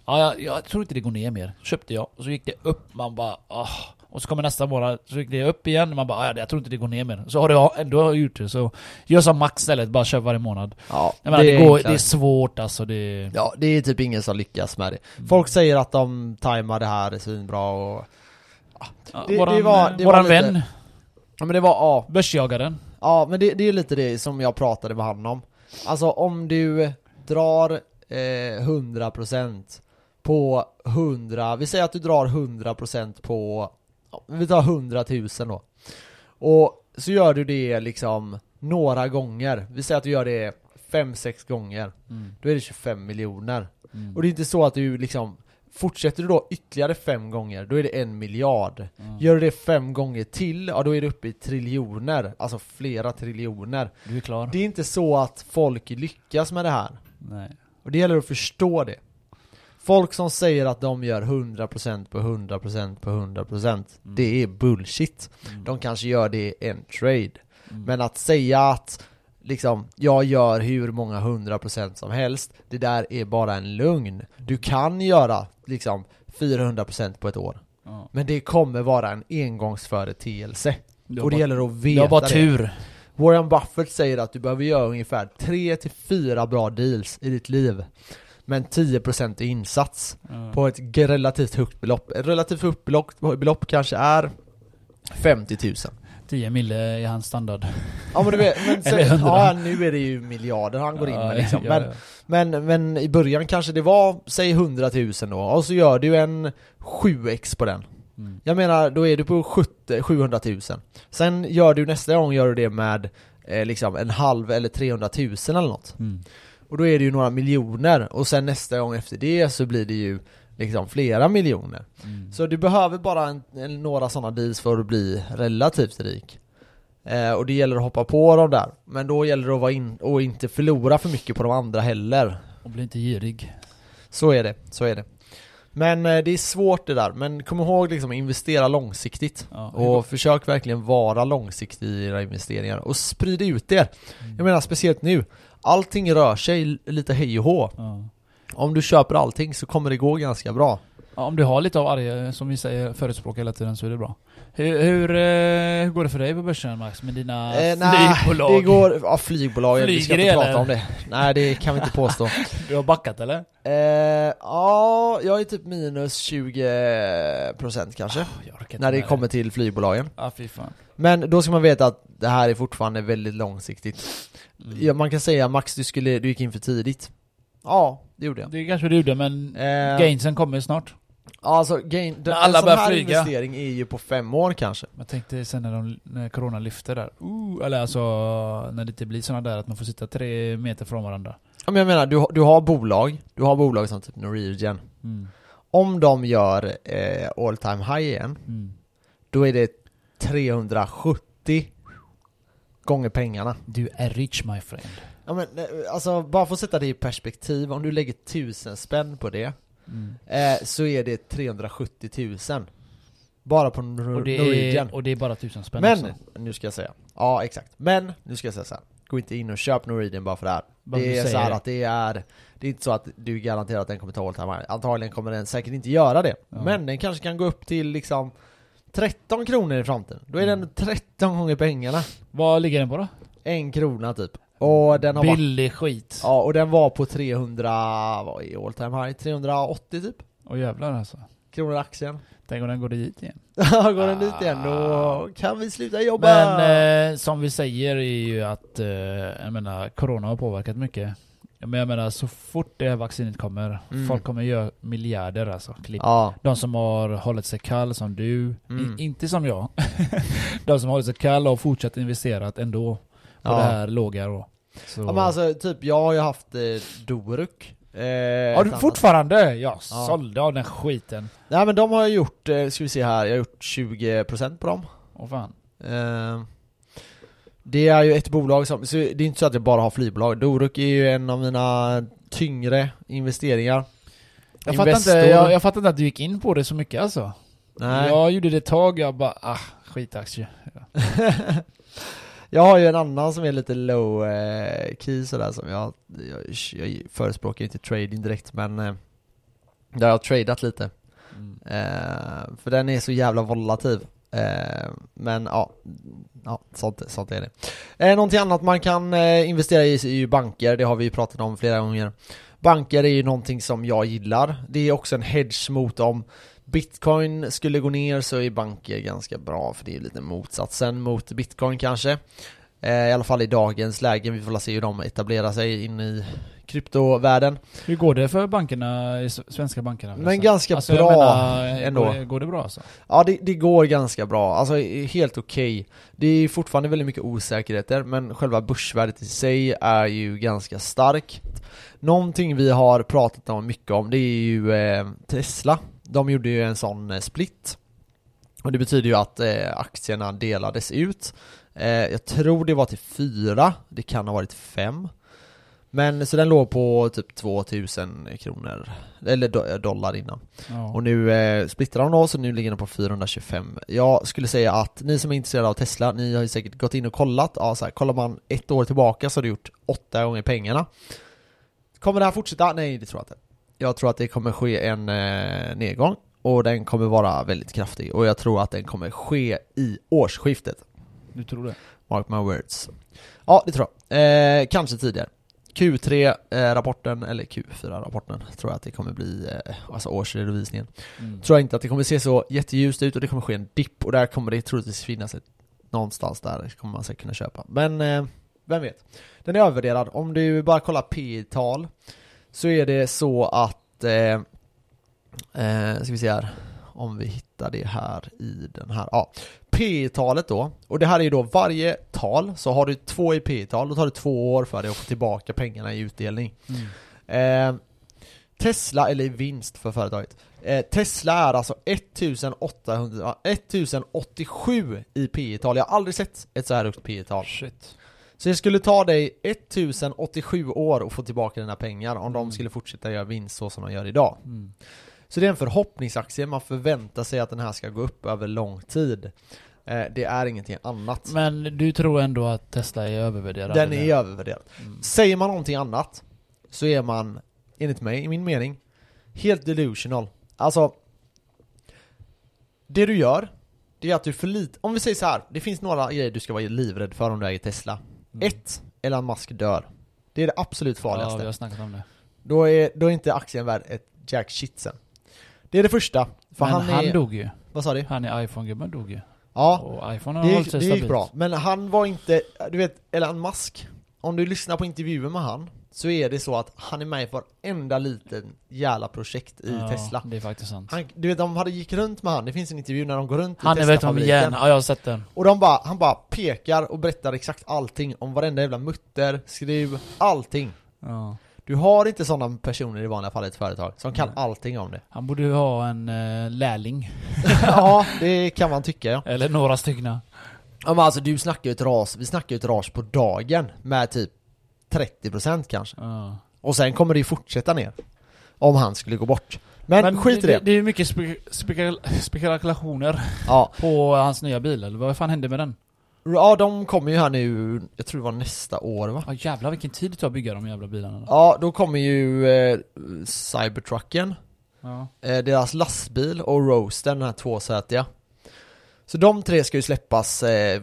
Speaker 2: Ja, jag, jag tror inte det går ner mer. Köpte jag, och så gick det upp, man bara ah. Och så kommer nästa månad, så gick det upp igen, man bara ah, ja, jag tror inte det går ner mer. Så har du ändå gjort det, så gör som Max istället, bara köp varje månad.
Speaker 1: ja.
Speaker 2: Jag menar, det, går, det
Speaker 1: enklare.
Speaker 2: är svårt alltså, det...
Speaker 1: Ja, det är typ ingen som lyckas med det. Folk säger att de tajmar det här svinbra och...
Speaker 2: Ja,
Speaker 1: det-
Speaker 2: våran
Speaker 1: det var- det var
Speaker 2: våran
Speaker 1: lite-
Speaker 2: vän,
Speaker 1: Ja men det var, ja.
Speaker 2: börsjagaren.
Speaker 1: Ja men det, det är lite det som jag pratade med han om. Alltså om du drar eh, 100% på 100, vi säger att du drar 100% på, ja, vi tar 100 000 då. Och så gör du det liksom några gånger. Vi säger att du gör det 5-6 gånger.
Speaker 2: Mm.
Speaker 1: Då är det 25 miljoner.
Speaker 2: Mm.
Speaker 1: Och det är inte så att du liksom Fortsätter du då ytterligare fem gånger, då är det en miljard.
Speaker 2: Ja.
Speaker 1: Gör du det fem gånger till, ja då är det uppe i triljoner. Alltså flera triljoner.
Speaker 2: Du är klar?
Speaker 1: Det är inte så att folk lyckas med det här.
Speaker 2: Nej.
Speaker 1: Och det gäller att förstå det. Folk som säger att de gör 100% på 100% på 100% Det är bullshit.
Speaker 2: Mm.
Speaker 1: De kanske gör det i en trade.
Speaker 2: Mm.
Speaker 1: Men att säga att liksom, jag gör hur många hundra procent som helst, det där är bara en lugn. Du kan göra liksom 400 procent på ett år.
Speaker 2: Ja.
Speaker 1: Men det kommer vara en engångsföreteelse.
Speaker 2: Du har
Speaker 1: Och det
Speaker 2: bara-
Speaker 1: gäller att
Speaker 2: du har
Speaker 1: veta
Speaker 2: bara
Speaker 1: det.
Speaker 2: tur.
Speaker 1: Warren Buffett säger att du behöver göra ungefär 3-4 bra deals i ditt liv. Men 10% i insats
Speaker 2: Ja.
Speaker 1: på ett g- relativt högt belopp. Ett relativt högt belopp, belopp kanske är 50 000.
Speaker 2: 10 mille är hans standard.
Speaker 1: Ja men du vet, men sen,
Speaker 2: Eller hundra.
Speaker 1: ja, nu är det ju miljarder han går in
Speaker 2: Ja,
Speaker 1: med liksom.
Speaker 2: ja,
Speaker 1: men,
Speaker 2: ja.
Speaker 1: Men, men i början kanske det var, säg 100 000 då, och så gör du en 7x på den.
Speaker 2: Mm.
Speaker 1: Jag menar, då är du på 70, 700 000. Sen gör du nästa gång gör du det med eh, liksom en halv eller 300 000 eller något.
Speaker 2: Mm.
Speaker 1: Och då är det ju några miljoner, och sen nästa gång efter det så blir det ju liksom flera miljoner.
Speaker 2: Mm.
Speaker 1: Så du behöver bara en, en, några sådana deals för att bli relativt rik. Eh, och det gäller att hoppa på dem där. Men då gäller det att vara in, och inte förlora för mycket på de andra heller.
Speaker 2: Och bli inte girig.
Speaker 1: Så är det, så är det. Men eh, det är svårt det där. Men kom ihåg liksom investera långsiktigt.
Speaker 2: Ja.
Speaker 1: Och försök verkligen vara långsiktig i era investeringar. Och sprid ut er. Jag menar speciellt nu. Allting rör sig lite hej och hå.
Speaker 2: ja.
Speaker 1: Om du köper allting så kommer det gå ganska bra.
Speaker 2: Ja, om du har lite av varje, som vi säger, förespråkar hela tiden så är det bra. Hur, hur, eh, hur går det för dig på börsen Max? Med dina
Speaker 1: Eh, nej,
Speaker 2: flygbolag?
Speaker 1: Det går, ja flygbolag, vi ska
Speaker 2: Flyger
Speaker 1: inte
Speaker 2: det,
Speaker 1: prata
Speaker 2: eller?
Speaker 1: om det. Nej det kan vi inte påstå.
Speaker 2: Du har backat eller?
Speaker 1: eh, ja, jag är typ minus 20% kanske.
Speaker 2: Jag orkar inte
Speaker 1: när det
Speaker 2: med
Speaker 1: kommer till flygbolagen.
Speaker 2: Ja, fy fan.
Speaker 1: Men då ska man veta att det här är fortfarande väldigt långsiktigt.
Speaker 2: Mm.
Speaker 1: Ja, man kan säga Max, du, skulle, du gick in för tidigt. Ja, det gjorde jag.
Speaker 2: Det kanske du gjorde, men
Speaker 1: Eh,
Speaker 2: gainsen kommer ju snart.
Speaker 1: Ja, Alltså, gain, den,
Speaker 2: När alla
Speaker 1: en sån
Speaker 2: börjar
Speaker 1: här
Speaker 2: flyga.
Speaker 1: investering är ju på fem år kanske.
Speaker 2: Jag tänkte sen när, de, när corona lyfter där. Ooh, eller alltså, när det inte blir sådana där att man får sitta tre meter från varandra.
Speaker 1: Ja, men jag menar, du, har- du har bolag, du har bolag som typ Norwegian.
Speaker 2: Mm.
Speaker 1: Om de gör eh, all time high igen,
Speaker 2: Mm.
Speaker 1: då är det 370 gånger pengarna.
Speaker 2: Du är rich my friend.
Speaker 1: Ja, men, eh, alltså, bara för att sätta det i perspektiv, om du lägger tusen spänn på det,
Speaker 2: Mm.
Speaker 1: eh, så är det 370 000. Bara på Nor-
Speaker 2: Och, det
Speaker 1: Norwegian.
Speaker 2: är, och det är bara tusen spänn
Speaker 1: men,
Speaker 2: också.
Speaker 1: nu ska jag säga. Ja, exakt. Men, nu ska jag säga så här. Gå inte in och köp Norwegian bara för det här.
Speaker 2: Bara för
Speaker 1: det
Speaker 2: att
Speaker 1: är
Speaker 2: säga
Speaker 1: så här
Speaker 2: det.
Speaker 1: att det är, det är inte så att du garanterar att den kommer ta all time high. Antagligen kommer den säkert inte göra det.
Speaker 2: Ja.
Speaker 1: Men den kanske kan gå upp till liksom 13 kronor i framtiden. Då är
Speaker 2: Mm.
Speaker 1: den 13 gånger pengarna.
Speaker 2: Vad ligger den på då?
Speaker 1: En krona typ. Och den har varit,
Speaker 2: Billig skit.
Speaker 1: ja, och den var på 300, vad är all time high? 380 typ?
Speaker 2: Och jävlar alltså.
Speaker 1: Kronor aktien.
Speaker 2: Tänk om den går dit igen.
Speaker 1: Ja, Går den dit igen då kan vi sluta jobba!
Speaker 2: Ah. Men eh, som vi säger är ju att, eh, jag menar, corona har påverkat mycket. Men jag menar, så fort det här vaccinet kommer,
Speaker 1: Mm.
Speaker 2: folk kommer göra miljarder alltså. Klipp.
Speaker 1: ja,
Speaker 2: De som har hållit sig kall som du,
Speaker 1: Mm.
Speaker 2: I, inte som jag. De som har hållit sig kall och fortsatt investerat ändå på
Speaker 1: Ja.
Speaker 2: det här låga då. Så.
Speaker 1: ja men alltså typ jag har ju haft eh, Doruk eh,
Speaker 2: har
Speaker 1: ett
Speaker 2: du
Speaker 1: annat-
Speaker 2: fortfarande? Jag sålde av den skiten.
Speaker 1: Nej men de har jag gjort, eh, ska vi se här, jag har gjort 20% på dem
Speaker 2: Åh fan.
Speaker 1: eh, Det är ju ett bolag som, så det är inte så att jag bara har flygbolag. Doruk är ju en av mina tyngre investeringar.
Speaker 2: Jag fattar, inte,
Speaker 1: Investor.
Speaker 2: jag, jag fattar inte att du gick in på det så mycket alltså.
Speaker 1: Nej.
Speaker 2: Jag gjorde det ett tag, jag bara ah, skitaktie.
Speaker 1: jag har ju en annan som är lite low eh, key sådär som jag, jag, jag förespråkar ju inte trading direkt men eh, där jag har tradat lite. Eh, för den är så jävla volatil. Eh, men ja, ja sånt, sånt är det. Eh, någonting annat man kan eh, investera i är ju banker, det har vi ju pratat om flera gånger. Banker är ju någonting som jag gillar. Det är också en hedge mot om bitcoin skulle gå ner så är banker ganska bra för det är lite motsatsen mot bitcoin kanske. Eh, I alla fall i dagens läge, vi får väl se hur de etablerar sig in i kryptovärlden.
Speaker 2: Hur går det för bankerna, i s- svenska bankerna?
Speaker 1: Men
Speaker 2: förresten?
Speaker 1: ganska
Speaker 2: Alltså, jag
Speaker 1: bra
Speaker 2: menar,
Speaker 1: ändå.
Speaker 2: Går, det- går det bra alltså?
Speaker 1: Ja, det, det går ganska bra. Alltså helt okej. Det är fortfarande väldigt mycket osäkerheter, men själva börsvärdet i sig är ju ganska starkt. Någonting vi har pratat om mycket om, det är ju eh, Tesla. De gjorde ju en sån eh, split. Och det betyder ju att eh, aktierna delades ut. Eh, jag tror det var till fyra, det kan ha varit fem. Men så den låg på typ 2000 kronor, eller do- dollar innan.
Speaker 2: Ja.
Speaker 1: Och nu eh, splittrar de då, så nu ligger den på 425 Jag skulle säga att ni som är intresserade av Tesla, ni har ju säkert gått in och kollat ja, så här, Kollar man ett år tillbaka så har du gjort åtta gånger pengarna Kommer det här fortsätta? Nej, det tror jag inte Jag tror att det kommer ske en eh, nedgång Och den kommer vara väldigt kraftig Och jag tror att den kommer ske i årsskiftet
Speaker 2: Du tror det?
Speaker 1: Mark my words. Ja, det tror jag. Eh, kanske tidigare. Q3-rapporten, eller Q4-rapporten, tror jag att det kommer bli, eh, alltså årsredovisningen.
Speaker 2: Mm.
Speaker 1: Tror jag inte att det kommer se så jätteljust ut och det kommer ske en dipp och där kommer det troligtvis finnas ett, någonstans där kommer man säkert kunna köpa. Men eh, vem vet? Den är övervärderad. Om du bara kollar P-tal så är det så att, eh, eh, ska vi se här, om vi hittar det här i den här, ja. P-talet då, och det här är ju då varje tal, så har du två i P-tal, då tar det två år för dig att få tillbaka pengarna i utdelning.
Speaker 2: Mm.
Speaker 1: Eh, Tesla, eller i vinst för företaget. Eh, Tesla är alltså 1800, ja, 1087 i P-tal. Jag har aldrig sett ett så här högt P-tal.
Speaker 2: Shit.
Speaker 1: Så det skulle ta dig 1087 år att få tillbaka dina pengar om de
Speaker 2: Mm.
Speaker 1: skulle fortsätta göra vinst så som de gör idag.
Speaker 2: Mm.
Speaker 1: Så det är en förhoppningsaktie, man förväntar sig att den här ska gå upp över lång tid. Eh, det är ingenting annat.
Speaker 2: Men du tror ändå att Tesla är övervärderad?
Speaker 1: den
Speaker 2: eller?
Speaker 1: är övervärderad.
Speaker 2: Mm.
Speaker 1: Säger man någonting annat så är man, enligt mig, i min mening, helt delusional. Alltså, det du gör, det är att du förlitar... Om vi säger så här, det finns några grejer du ska vara livrädd för om du äger Tesla.
Speaker 2: Mm.
Speaker 1: Ett, Elon Musk dör. Det är det absolut
Speaker 2: Ja,
Speaker 1: farligaste.
Speaker 2: vi har snackat om det.
Speaker 1: då, är, då är inte aktien värd ett jack shit sen. Det är det första. För
Speaker 2: Men
Speaker 1: han,
Speaker 2: han,
Speaker 1: är...
Speaker 2: dog ju.
Speaker 1: Vad sa du?
Speaker 2: Han är iPhone-gubben dog ju.
Speaker 1: Ja,
Speaker 2: Och iPhone har
Speaker 1: det
Speaker 2: hållit
Speaker 1: gick,
Speaker 2: sig
Speaker 1: det gick
Speaker 2: stabilt.
Speaker 1: bra. Men han var inte... Du vet, Elon Musk. Om du lyssnar på intervjuer med han så är det så att han är med i varenda liten jävla projekt i
Speaker 2: ja,
Speaker 1: Tesla.
Speaker 2: Det är faktiskt sant.
Speaker 1: Han, du vet, de hade gick runt med han. Det finns en intervju när de går runt
Speaker 2: Han
Speaker 1: i
Speaker 2: är verkligen med
Speaker 1: Tesla-fabriken.
Speaker 2: järn. Ja, jag har sett den.
Speaker 1: Och de bara, han bara pekar och berättar exakt allting om varenda jävla mutter, skruv, allting.
Speaker 2: Ja.
Speaker 1: Du har inte sådana personer i vanliga fall i ett företag som kan
Speaker 2: Nej.
Speaker 1: allting om det.
Speaker 2: Han borde ju ha en eh, lärling.
Speaker 1: ja, det kan man tycka ja.
Speaker 2: Eller några stycken.
Speaker 1: ja men alltså du snackar ju ett ras, vi snackar ju ett ras på dagen med typ 30% kanske.
Speaker 2: Ja.
Speaker 1: Och sen kommer det ju fortsätta ner. Om han skulle gå bort. Men, skit i det.
Speaker 2: Det, är ju mycket spe, spekul- spekulationer
Speaker 1: Ja.
Speaker 2: på hans nya bil, eller vad fan hände med den?
Speaker 1: ja, de kommer ju här nu, jag tror det var nästa år va?
Speaker 2: Ja jävlar vilken tid det tar att bygga de jävla bilarna. Ja.
Speaker 1: Ja, då kommer ju eh, Cybertrucken,
Speaker 2: Ja.
Speaker 1: eh, deras lastbil och Roasten, den här tvåsätiga. Så de tre ska ju släppas eh,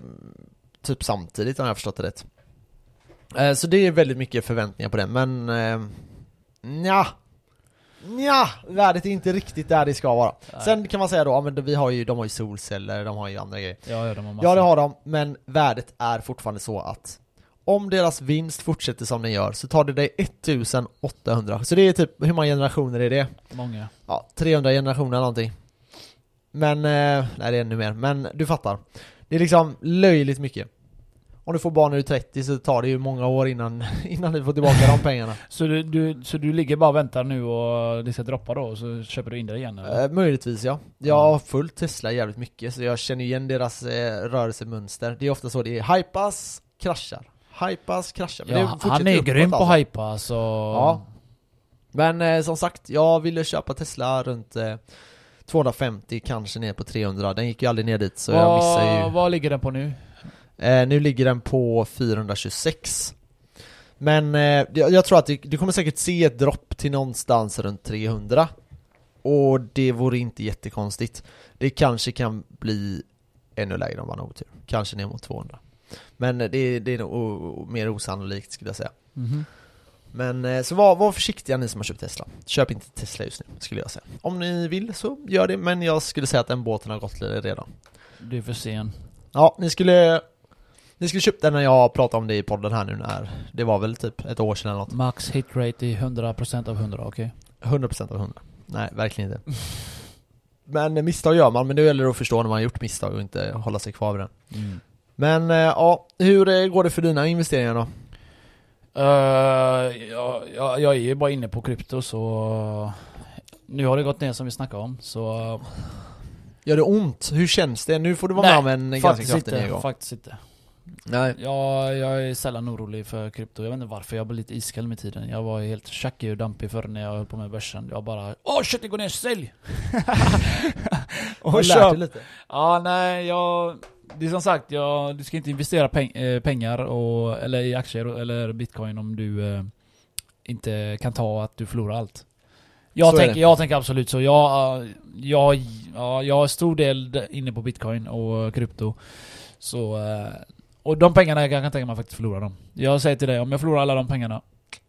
Speaker 1: typ samtidigt om jag har förstått det rätt. Eh, så det är väldigt mycket förväntningar på den, men eh, nja. Nja, värdet är inte riktigt där det ska vara.
Speaker 2: Nej.
Speaker 1: Sen kan man säga då, ja, men vi har ju, de har ju solceller, de har ju andra grejer.
Speaker 2: Ja, ja, de har massa.
Speaker 1: Ja det har de, men värdet är fortfarande så att om deras vinst fortsätter som den gör så tar det dig 1800, så det är typ, hur många generationer är det?
Speaker 2: Många.
Speaker 1: Ja, 300 generationer eller någonting. Men, eh, nej det är ännu mer, men du fattar. Det är liksom löjligt mycket. Om du får barn när du är 30 så tar det ju många år innan, innan du får tillbaka de pengarna.
Speaker 2: Så du, du, så du ligger bara och väntar nu och det ska droppa då, och så köper du in det igen eller?
Speaker 1: Eh, möjligtvis ja. Jag har följt Tesla jävligt mycket så jag känner igen deras eh, rörelsemönster. Det är ofta så det är hypas kraschar. Hypas kraschar. Men
Speaker 2: Ja,
Speaker 1: det
Speaker 2: han
Speaker 1: fortsätter
Speaker 2: är
Speaker 1: uppåt
Speaker 2: grym på
Speaker 1: alltså.
Speaker 2: att hypa alltså.
Speaker 1: Ja. Men eh, som sagt, jag ville köpa Tesla runt eh, 250, kanske ner på 300. Den gick ju aldrig ner dit så jag missar ju.
Speaker 2: Vad ligger den på nu?
Speaker 1: Eh, nu ligger den på 426. Men eh, jag, jag tror att du, du kommer säkert se ett dropp till någonstans runt 300. Och det vore inte jättekonstigt. Det kanske kan bli ännu lägre om man har otur. Kanske ner mot 200. Men eh, det, det är nog o, mer osannolikt skulle jag säga. Men eh, så var, var försiktiga ni som har köpt Tesla. Köp inte Tesla just nu, skulle jag säga. Om ni vill så gör det, men jag skulle säga att den båten har gått lite redan.
Speaker 2: Det är för sen.
Speaker 1: Ja, ni skulle... Ni skulle köpt den när jag pratade om det i podden här nu när det var väl typ ett år sedan eller något.
Speaker 2: Max hitrate är 100% av 100, okej?
Speaker 1: 100% av 100. Nej, verkligen inte. Men eh, misstag gör man, men det gäller att förstå när man har gjort misstag och inte hålla sig kvar vid den. Men eh, ja, hur eh, går det för dina investeringar då?
Speaker 2: Eh, jag, Eh, jag, jag är ju bara inne på krypto så... Nu har det gått ner som vi snackade om så...
Speaker 1: Gör det ont? Hur känns det? Nu får du vara
Speaker 2: Nej,
Speaker 1: med om en ganska
Speaker 2: Faktiskt
Speaker 1: kraftig
Speaker 2: inte,
Speaker 1: nedgång.
Speaker 2: faktiskt inte.
Speaker 1: Nej.
Speaker 2: Jag, jag är sällan orolig för krypto, jag vet inte varför, jag blir lite iskall med tiden. Jag var helt tjackig och dampig förr när jag höll på med börsen. Jag bara Åh shit det går ner, sälj!
Speaker 1: Har
Speaker 2: och
Speaker 1: du lärt
Speaker 2: köp!
Speaker 1: dig lite?
Speaker 2: Ja nej, jag... Det är som sagt, jag, du ska inte investera peng, eh, pengar och, eller i aktier och- eller bitcoin om du eh, inte kan ta att du förlorar allt. Jag,
Speaker 1: Så är
Speaker 2: tänk,
Speaker 1: det.
Speaker 2: jag tänker absolut så. Jag, eh, jag, ja, jag har stor del d- inne på bitcoin och krypto. Så, eh, och de pengarna jag kan tänka mig faktiskt förlora dem. Jag säger till dig, om jag förlorar alla de pengarna,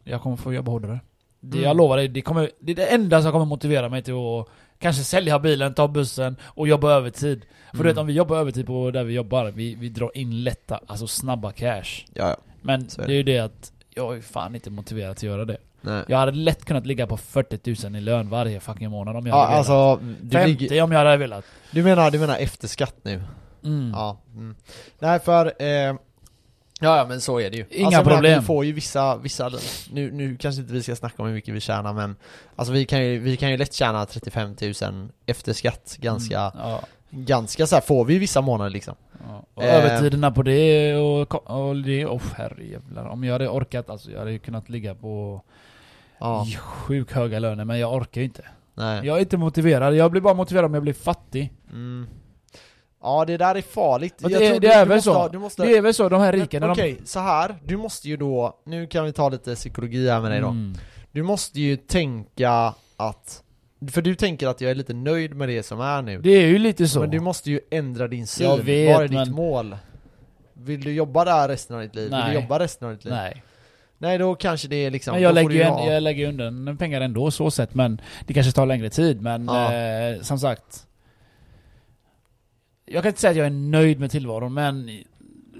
Speaker 2: jag kommer få jobba hårdare. Det,
Speaker 1: Mm.
Speaker 2: Jag lovar dig, det, kommer, det är det enda som kommer motivera mig till att kanske sälja bilen, ta bussen och jobba övertid. För du
Speaker 1: Mm.
Speaker 2: vet om vi jobbar övertid på där vi jobbar, vi, vi drar in lätta, alltså snabba cash.
Speaker 1: Ja, ja.
Speaker 2: Men
Speaker 1: Så är
Speaker 2: det är ju det att jag är fan inte motiverad till att göra det.
Speaker 1: Nej.
Speaker 2: Jag hade lätt kunnat ligga på 40 000 i lön varje fucking månad om jag
Speaker 1: Ja,
Speaker 2: hade velat.
Speaker 1: alltså, du,
Speaker 2: 50
Speaker 1: ligger,
Speaker 2: om jag hade velat.
Speaker 1: du, menar, du menar efter skatt nu?
Speaker 2: Mm.
Speaker 1: Ja. Mm. Nej, för... Eh, ja, ja, men så är det ju. jag
Speaker 2: Inga
Speaker 1: menar,
Speaker 2: problem.
Speaker 1: Vi får ju vissa... vissa nu, nu kanske inte vi ska snacka om hur mycket vi tjänar, men... Alltså vi kan ju, vi kan ju lätt tjäna 35 000 efter skatt. Ganska,
Speaker 2: Mm. Ja.
Speaker 1: ganska så här får vi ju vissa månader liksom.
Speaker 2: Ja, och
Speaker 1: Eh.
Speaker 2: övertiderna på det och, ko- och det, oh, herrejävlar. Om jag hade orkat alltså, jag hade ju kunnat ligga på
Speaker 1: Ja,
Speaker 2: sjukt höga löner men jag orkar ju inte.
Speaker 1: nej.
Speaker 2: Jag är inte motiverad, jag blir bara motiverad om jag blir fattig.
Speaker 1: Mm. Ja, det där är farligt.
Speaker 2: Men
Speaker 1: Jag
Speaker 2: det-
Speaker 1: tror
Speaker 2: det
Speaker 1: du-
Speaker 2: är
Speaker 1: du
Speaker 2: väl
Speaker 1: måste
Speaker 2: så.
Speaker 1: ha- Du måste,
Speaker 2: Det är väl så, de här rika när
Speaker 1: Men
Speaker 2: de...
Speaker 1: Okej, så här. Du måste ju då... Nu kan vi ta lite psykologi här med dig då.
Speaker 2: Mm.
Speaker 1: Du måste ju tänka att... För du tänker att jag är lite nöjd med det som är nu.
Speaker 2: Det är ju lite så.
Speaker 1: Men du måste ju ändra din syn.
Speaker 2: Jag vet,
Speaker 1: Vad är ditt
Speaker 2: men-
Speaker 1: mål? Vill du jobba där resten av ditt liv? Vill
Speaker 2: Nej.
Speaker 1: du jobba resten av ditt liv? Nej,
Speaker 2: Nej.
Speaker 1: då kanske det är liksom...
Speaker 2: Men jag
Speaker 1: då får
Speaker 2: lägger,
Speaker 1: du
Speaker 2: ju en,
Speaker 1: ha-
Speaker 2: jag lägger ju undan pengar ändå så sett men det kanske tar längre tid men
Speaker 1: Ja.
Speaker 2: eh, som sagt. Jag kan inte säga att jag är nöjd med tillvaron men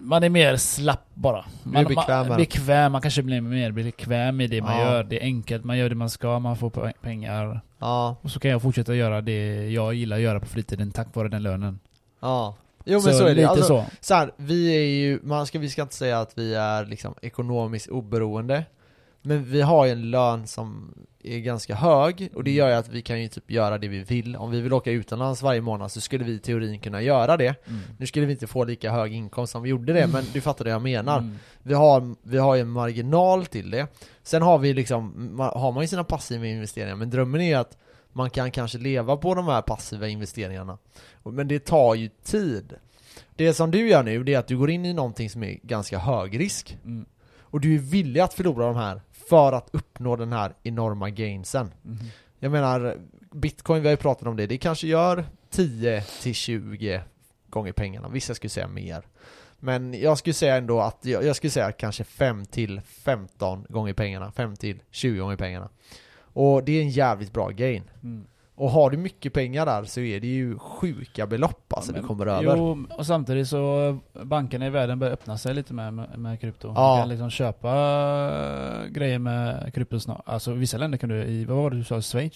Speaker 2: man är mer slapp bara. Man,
Speaker 1: bekvämare.
Speaker 2: man, bekväm, man kanske blir mer bekväm i det man
Speaker 1: Ja.
Speaker 2: gör. Det är enkelt, man gör det man ska, man får pe- pengar.
Speaker 1: Ja,
Speaker 2: Och så kan jag fortsätta göra det jag gillar att göra på fritiden tack vare den lönen.
Speaker 1: ja. Jo men så, är det.
Speaker 2: lite
Speaker 1: Alltså, så.
Speaker 2: så.
Speaker 1: här, vi är ju... Man ska, vi ska inte säga att vi är liksom ekonomiskt oberoende. Men vi har ju en lön som är ganska hög
Speaker 2: Mm.
Speaker 1: och det gör ju att vi kan ju typ göra det vi vill. Om vi vill åka utomlands varje månad så skulle vi i teorin kunna göra det.
Speaker 2: Mm.
Speaker 1: Nu skulle vi inte få lika hög inkomst som vi gjorde det, men du fattar det jag menar.
Speaker 2: Mm.
Speaker 1: Vi, har, vi har ju en marginal till det. Sen har vi liksom, ma- har man ju sina passiva investeringar, men drömmen är ju att man kan kanske leva på de här passiva investeringarna. Och- Men det tar ju tid. Det som du gör nu, det är att du går in i någonting som är ganska hög risk.
Speaker 2: Mm.
Speaker 1: Och du är villig att förlora de här för att uppnå den här enorma gainsen.
Speaker 2: Mm.
Speaker 1: Jag menar, bitcoin, vi har ju pratat om det, det kanske gör 10 till 20 gånger pengarna. Vissa skulle säga mer. Men jag skulle säga ändå att, jag, jag skulle säga kanske 5 till 15 gånger pengarna, 5 till 20 gånger pengarna. Och det är en jävligt bra gain.
Speaker 2: Mm.
Speaker 1: Och har du mycket pengar där så är det ju sjuka belopp alltså
Speaker 2: Men-
Speaker 1: du kommer över.
Speaker 2: Jo, och samtidigt så eh, bankerna i världen börjar öppna sig lite med, med, med krypto.
Speaker 1: Ja.
Speaker 2: Du kan liksom köpa eh, grejer med krypto snart. Alltså vissa länder kan du, i, vad var det du sa, Schweiz?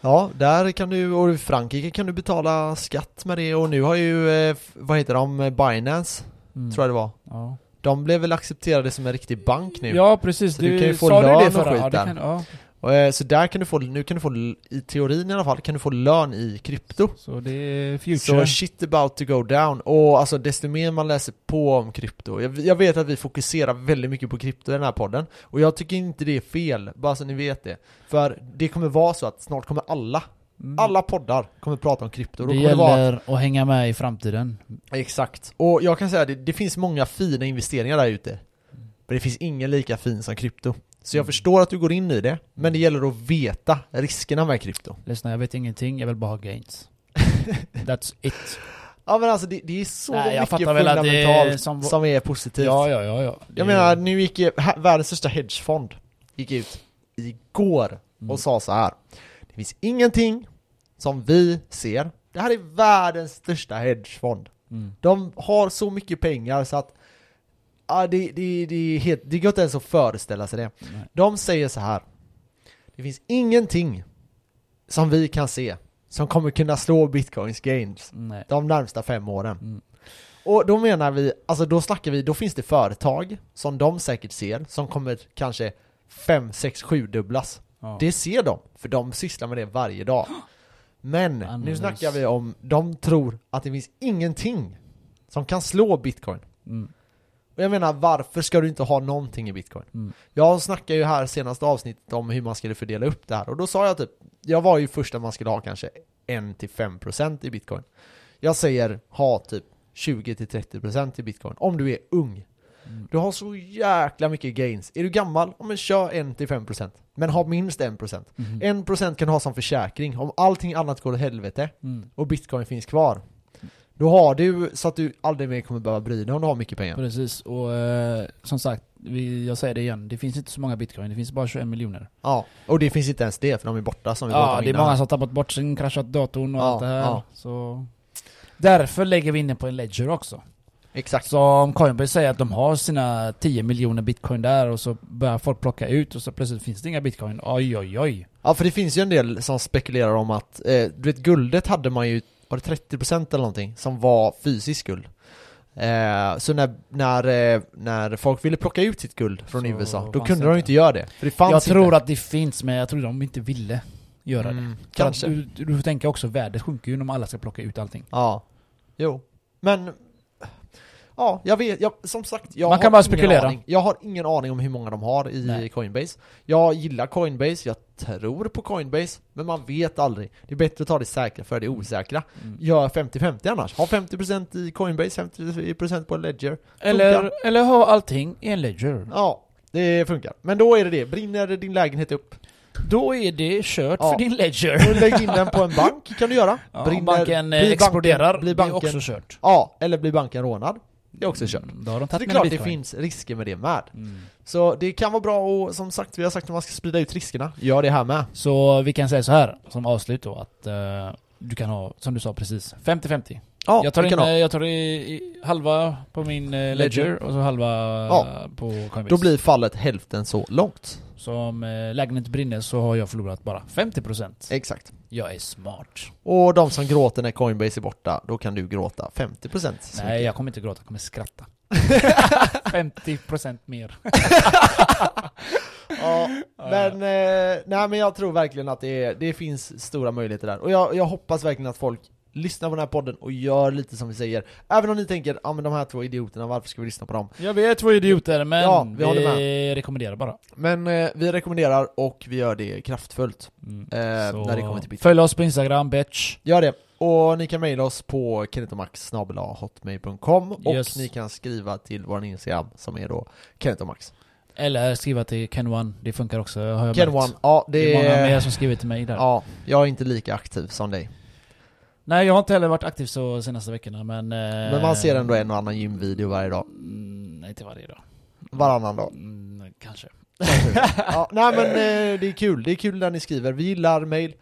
Speaker 1: Ja, där kan du, och i Frankrike kan du betala skatt med det och nu har ju, eh, f- vad heter de, Eh, Binance,
Speaker 2: Mm.
Speaker 1: tror jag det var.
Speaker 2: Ja,
Speaker 1: De blev väl accepterade som en riktig bank nu.
Speaker 2: ja precis.
Speaker 1: Så du kan ju få
Speaker 2: sa du
Speaker 1: lön
Speaker 2: det
Speaker 1: och
Speaker 2: förra?
Speaker 1: skit
Speaker 2: Ja, det
Speaker 1: där.
Speaker 2: kan, ja.
Speaker 1: Och, eh, Så där kan du få, nu kan du få, i teorin i alla fall, kan du få lön i krypto.
Speaker 2: Så det är
Speaker 1: Så
Speaker 2: future.
Speaker 1: shit about to go down. Och alltså desto mer man läser på om krypto. Jag, jag vet att vi fokuserar väldigt mycket på krypto i den här podden. Och jag tycker inte det är fel, bara så ni vet det. För det kommer vara så att snart kommer alla,
Speaker 2: Mm.
Speaker 1: alla poddar kommer prata om krypto. Då
Speaker 2: det
Speaker 1: kommer det vara
Speaker 2: gäller att hänga med i framtiden.
Speaker 1: Exakt. Och jag kan säga det, det finns många fina investeringar där ute. Men det finns ingen lika fin som krypto. Så jag
Speaker 2: Mm.
Speaker 1: förstår att du går in i det, men det gäller att veta riskerna med krypto.
Speaker 2: Lyssna, jag vet ingenting. Jag vill bara ha gains. That's it.
Speaker 1: Ja men alltså det, det är så
Speaker 2: Nej, jag
Speaker 1: mycket
Speaker 2: fattar väl att
Speaker 1: fundamentalt
Speaker 2: det är
Speaker 1: som...
Speaker 2: som-
Speaker 1: är positivt.
Speaker 2: Ja, ja, ja. ja.
Speaker 1: jag menar, nu gick ju, här- världens största hedgefond gick ut igår och
Speaker 2: Mm.
Speaker 1: sa så här. Det finns ingenting som vi ser. Det här är världens största hedgefond.
Speaker 2: Mm.
Speaker 1: De har så mycket pengar så att ah, det, det, det, är helt, det går inte ens att föreställa sig det.
Speaker 2: Nej.
Speaker 1: De säger så här. Det finns ingenting som vi kan se som kommer kunna slå bitcoins gains
Speaker 2: Nej.
Speaker 1: de närmsta fem åren.
Speaker 2: Mm.
Speaker 1: Och då menar vi, alltså då snackar vi, då finns det företag som de säkert ser som kommer kanske fem, sex, sju dubblas.
Speaker 2: Ja.
Speaker 1: Det ser de, för de sysslar med det varje dag. Men nu
Speaker 2: Analys.
Speaker 1: snackar vi om, de tror att det finns ingenting som kan slå bitcoin.
Speaker 2: Mm.
Speaker 1: Och jag menar, varför ska du inte ha någonting i bitcoin?
Speaker 2: Mm.
Speaker 1: Jag snackade ju här senaste avsnittet om hur man skulle fördela upp det här och då sa jag typ, jag var ju först att man skulle ha kanske 1-5% i bitcoin. Jag säger ha typ 20-30% i bitcoin om du är ung.
Speaker 2: Mm.
Speaker 1: Du har så jäkla mycket gains. Är du gammal, ja, men kör 1-5%. Men ha minst 1%.
Speaker 2: Mhm.
Speaker 1: 1% kan du ha som försäkring om allting annat går åt helvete
Speaker 2: Mm.
Speaker 1: och bitcoin finns kvar. Då har du så att du aldrig mer kommer behöva bry dig om du har mycket pengar.
Speaker 2: Precis, och eh, som sagt, vi, jag säger det igen. Det finns inte så många bitcoin, det finns bara 21 miljoner.
Speaker 1: Ja, och det finns inte ens det för de är borta som vi pratade
Speaker 2: Ja,
Speaker 1: om
Speaker 2: det är
Speaker 1: innan.
Speaker 2: många som har tappat bort sin, kraschat datorn och
Speaker 1: Ja,
Speaker 2: allt det här.
Speaker 1: ja.
Speaker 2: Så. Därför lägger vi in det på en ledger också.
Speaker 1: Exakt.
Speaker 2: Som Coinbase säger att de har sina 10 miljoner bitcoin där och så börjar folk plocka ut och så plötsligt finns det inga bitcoin. Oj oj oj.
Speaker 1: Ja, för det finns ju en del som spekulerar om att, eh, du vet guldet hade man ju, var det 30% eller någonting, som var fysisk guld. Eh, så när, när, eh, när folk ville plocka ut sitt guld från
Speaker 2: Så
Speaker 1: USA, då
Speaker 2: fanns
Speaker 1: kunde
Speaker 2: det
Speaker 1: de ju
Speaker 2: inte.
Speaker 1: inte göra det. För det fanns
Speaker 2: jag tror
Speaker 1: inte.
Speaker 2: att det finns men jag tror de inte ville göra det.
Speaker 1: Mm,
Speaker 2: För
Speaker 1: kanske.
Speaker 2: Att du, du får tänka också, värdet sjunker ju om alla ska plocka ut allting.
Speaker 1: Ja. Jo. Men, ja, jag vet, jag, som sagt, jag
Speaker 2: Man
Speaker 1: har
Speaker 2: kan bara
Speaker 1: ingen
Speaker 2: spekulera.
Speaker 1: Aning. Jag har ingen aning om hur många de har i
Speaker 2: Nej.
Speaker 1: Coinbase. Jag gillar Coinbase, jag tror på Coinbase, men man vet aldrig. Det är bättre att ta det säkra för det osäkra.
Speaker 2: Mm.
Speaker 1: Gör 50-50 annars. Ha 50% i Coinbase, 50% på Ledger.
Speaker 2: Mm. Eller, eller ha allting i en ledger.
Speaker 1: Ja, det funkar. Men då är det det. Brinner din lägenhet upp?
Speaker 2: Då är det kört
Speaker 1: Ja.
Speaker 2: för din ledger.
Speaker 1: Och lägg in den på en bank kan du göra.
Speaker 2: Ja,
Speaker 1: Brinner-
Speaker 2: om banken eh,
Speaker 1: blir
Speaker 2: exploderar,
Speaker 1: blir
Speaker 2: det är
Speaker 1: banken,
Speaker 2: också kört.
Speaker 1: Ja, eller blir banken rånad? Det är också kört.
Speaker 2: Mm, Då har de
Speaker 1: Så det
Speaker 2: tagit
Speaker 1: är
Speaker 2: mina
Speaker 1: klart det
Speaker 2: bitcoin.
Speaker 1: finns risker med det med.
Speaker 2: Mm.
Speaker 1: Så det kan vara bra och som sagt, vi har sagt att man ska sprida ut riskerna. Gör det här med.
Speaker 2: Så vi kan säga så här som avslut då att eh, du kan ha, som du sa precis, 50-50.
Speaker 1: Ja,
Speaker 2: jag tar,
Speaker 1: det
Speaker 2: in,
Speaker 1: kan
Speaker 2: eh,
Speaker 1: ha.
Speaker 2: jag tar i, i, halva på min eh, ledger,
Speaker 1: Ledger.
Speaker 2: och så halva
Speaker 1: Ja.
Speaker 2: eh, på Coinbase.
Speaker 1: Då blir fallet hälften så långt.
Speaker 2: Så om eh, lägenheten brinner så har jag förlorat bara 50%.
Speaker 1: Exakt.
Speaker 2: Jag är smart.
Speaker 1: Och de som gråter när Coinbase är borta, då kan du gråta 50% så
Speaker 2: Nej,
Speaker 1: mycket.
Speaker 2: jag kommer inte gråta, jag kommer skratta. 50% mer.
Speaker 1: Ja, men, eh, nej, men jag tror verkligen att det, är, det finns stora möjligheter där. Och jag, jag hoppas verkligen att folk lyssnar på den här podden och gör lite som vi säger. Även om ni tänker, ja ah, men de här två idioterna, varför ska vi lyssna på dem?
Speaker 2: Jag vet vad idioter men
Speaker 1: Ja, vi
Speaker 2: vi,
Speaker 1: håller
Speaker 2: rekommenderar bara.
Speaker 1: Men eh, vi rekommenderar och vi gör det kraftfullt eh,
Speaker 2: Mm. Så
Speaker 1: när det kommer till Bitcoin.
Speaker 2: Följ oss på Instagram, bitch.
Speaker 1: Gör det. Och ni kan mejla oss på kennetomax.hotmail.com och
Speaker 2: Yes.
Speaker 1: ni kan skriva till vår Instagram som är då kennetomax.
Speaker 2: Eller skriva till Ken One, det funkar också har jag
Speaker 1: Ken
Speaker 2: märkt.
Speaker 1: One, ja det,
Speaker 2: Det är många mer
Speaker 1: är...
Speaker 2: som skriver till mig där.
Speaker 1: Ja, jag är inte lika aktiv som dig.
Speaker 2: Nej jag har inte heller varit aktiv så senaste veckorna men... eh,
Speaker 1: Men man ser ändå en och annan gymvideo varje dag.
Speaker 2: Mm, nej inte varje dag.
Speaker 1: Varannan dag.
Speaker 2: Mm, kanske.
Speaker 1: Ja, nej men eh, det är kul. Det är kul när ni skriver. Vi gillar mejl.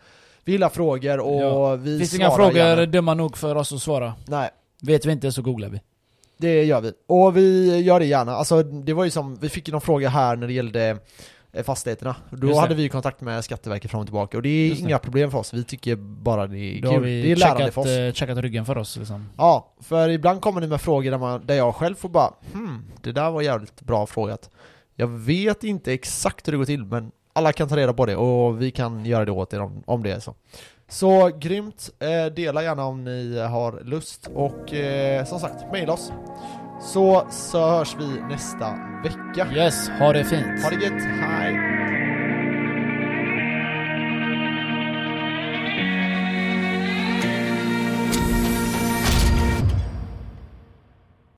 Speaker 1: Vi gillar frågor och
Speaker 2: Ja.
Speaker 1: vi
Speaker 2: Finns det
Speaker 1: svarar
Speaker 2: inga frågor
Speaker 1: Gärna.
Speaker 2: dumma nog för oss att svara?
Speaker 1: Nej,
Speaker 2: Vet vi inte så googlar vi.
Speaker 1: det gör vi. Och vi gör det gärna. Alltså det var ju som, vi fick ju någon fråga här när det gällde eh, fastigheterna.
Speaker 2: Just
Speaker 1: Då
Speaker 2: det.
Speaker 1: hade vi ju kontakt med Skatteverket fram och tillbaka och det är
Speaker 2: Just det.
Speaker 1: inga problem för oss. Vi tycker bara det är
Speaker 2: Då har
Speaker 1: kul.
Speaker 2: vi
Speaker 1: Det är lärande
Speaker 2: checkat,
Speaker 1: för oss.
Speaker 2: eh, checkat ryggen för oss liksom.
Speaker 1: Ja, för ibland kommer det med frågor där, man, där jag själv får bara hmm, det där var jävligt bra frågat. Jag vet inte exakt hur det går till men alla kan ta reda på det och vi kan göra det åt er om, om det är så. Så grymt, eh, dela gärna om ni har lust och eh, som sagt, mejla oss. Så, så hörs vi nästa vecka.
Speaker 2: Yes, ha det fint.
Speaker 1: Ha det gött, hej!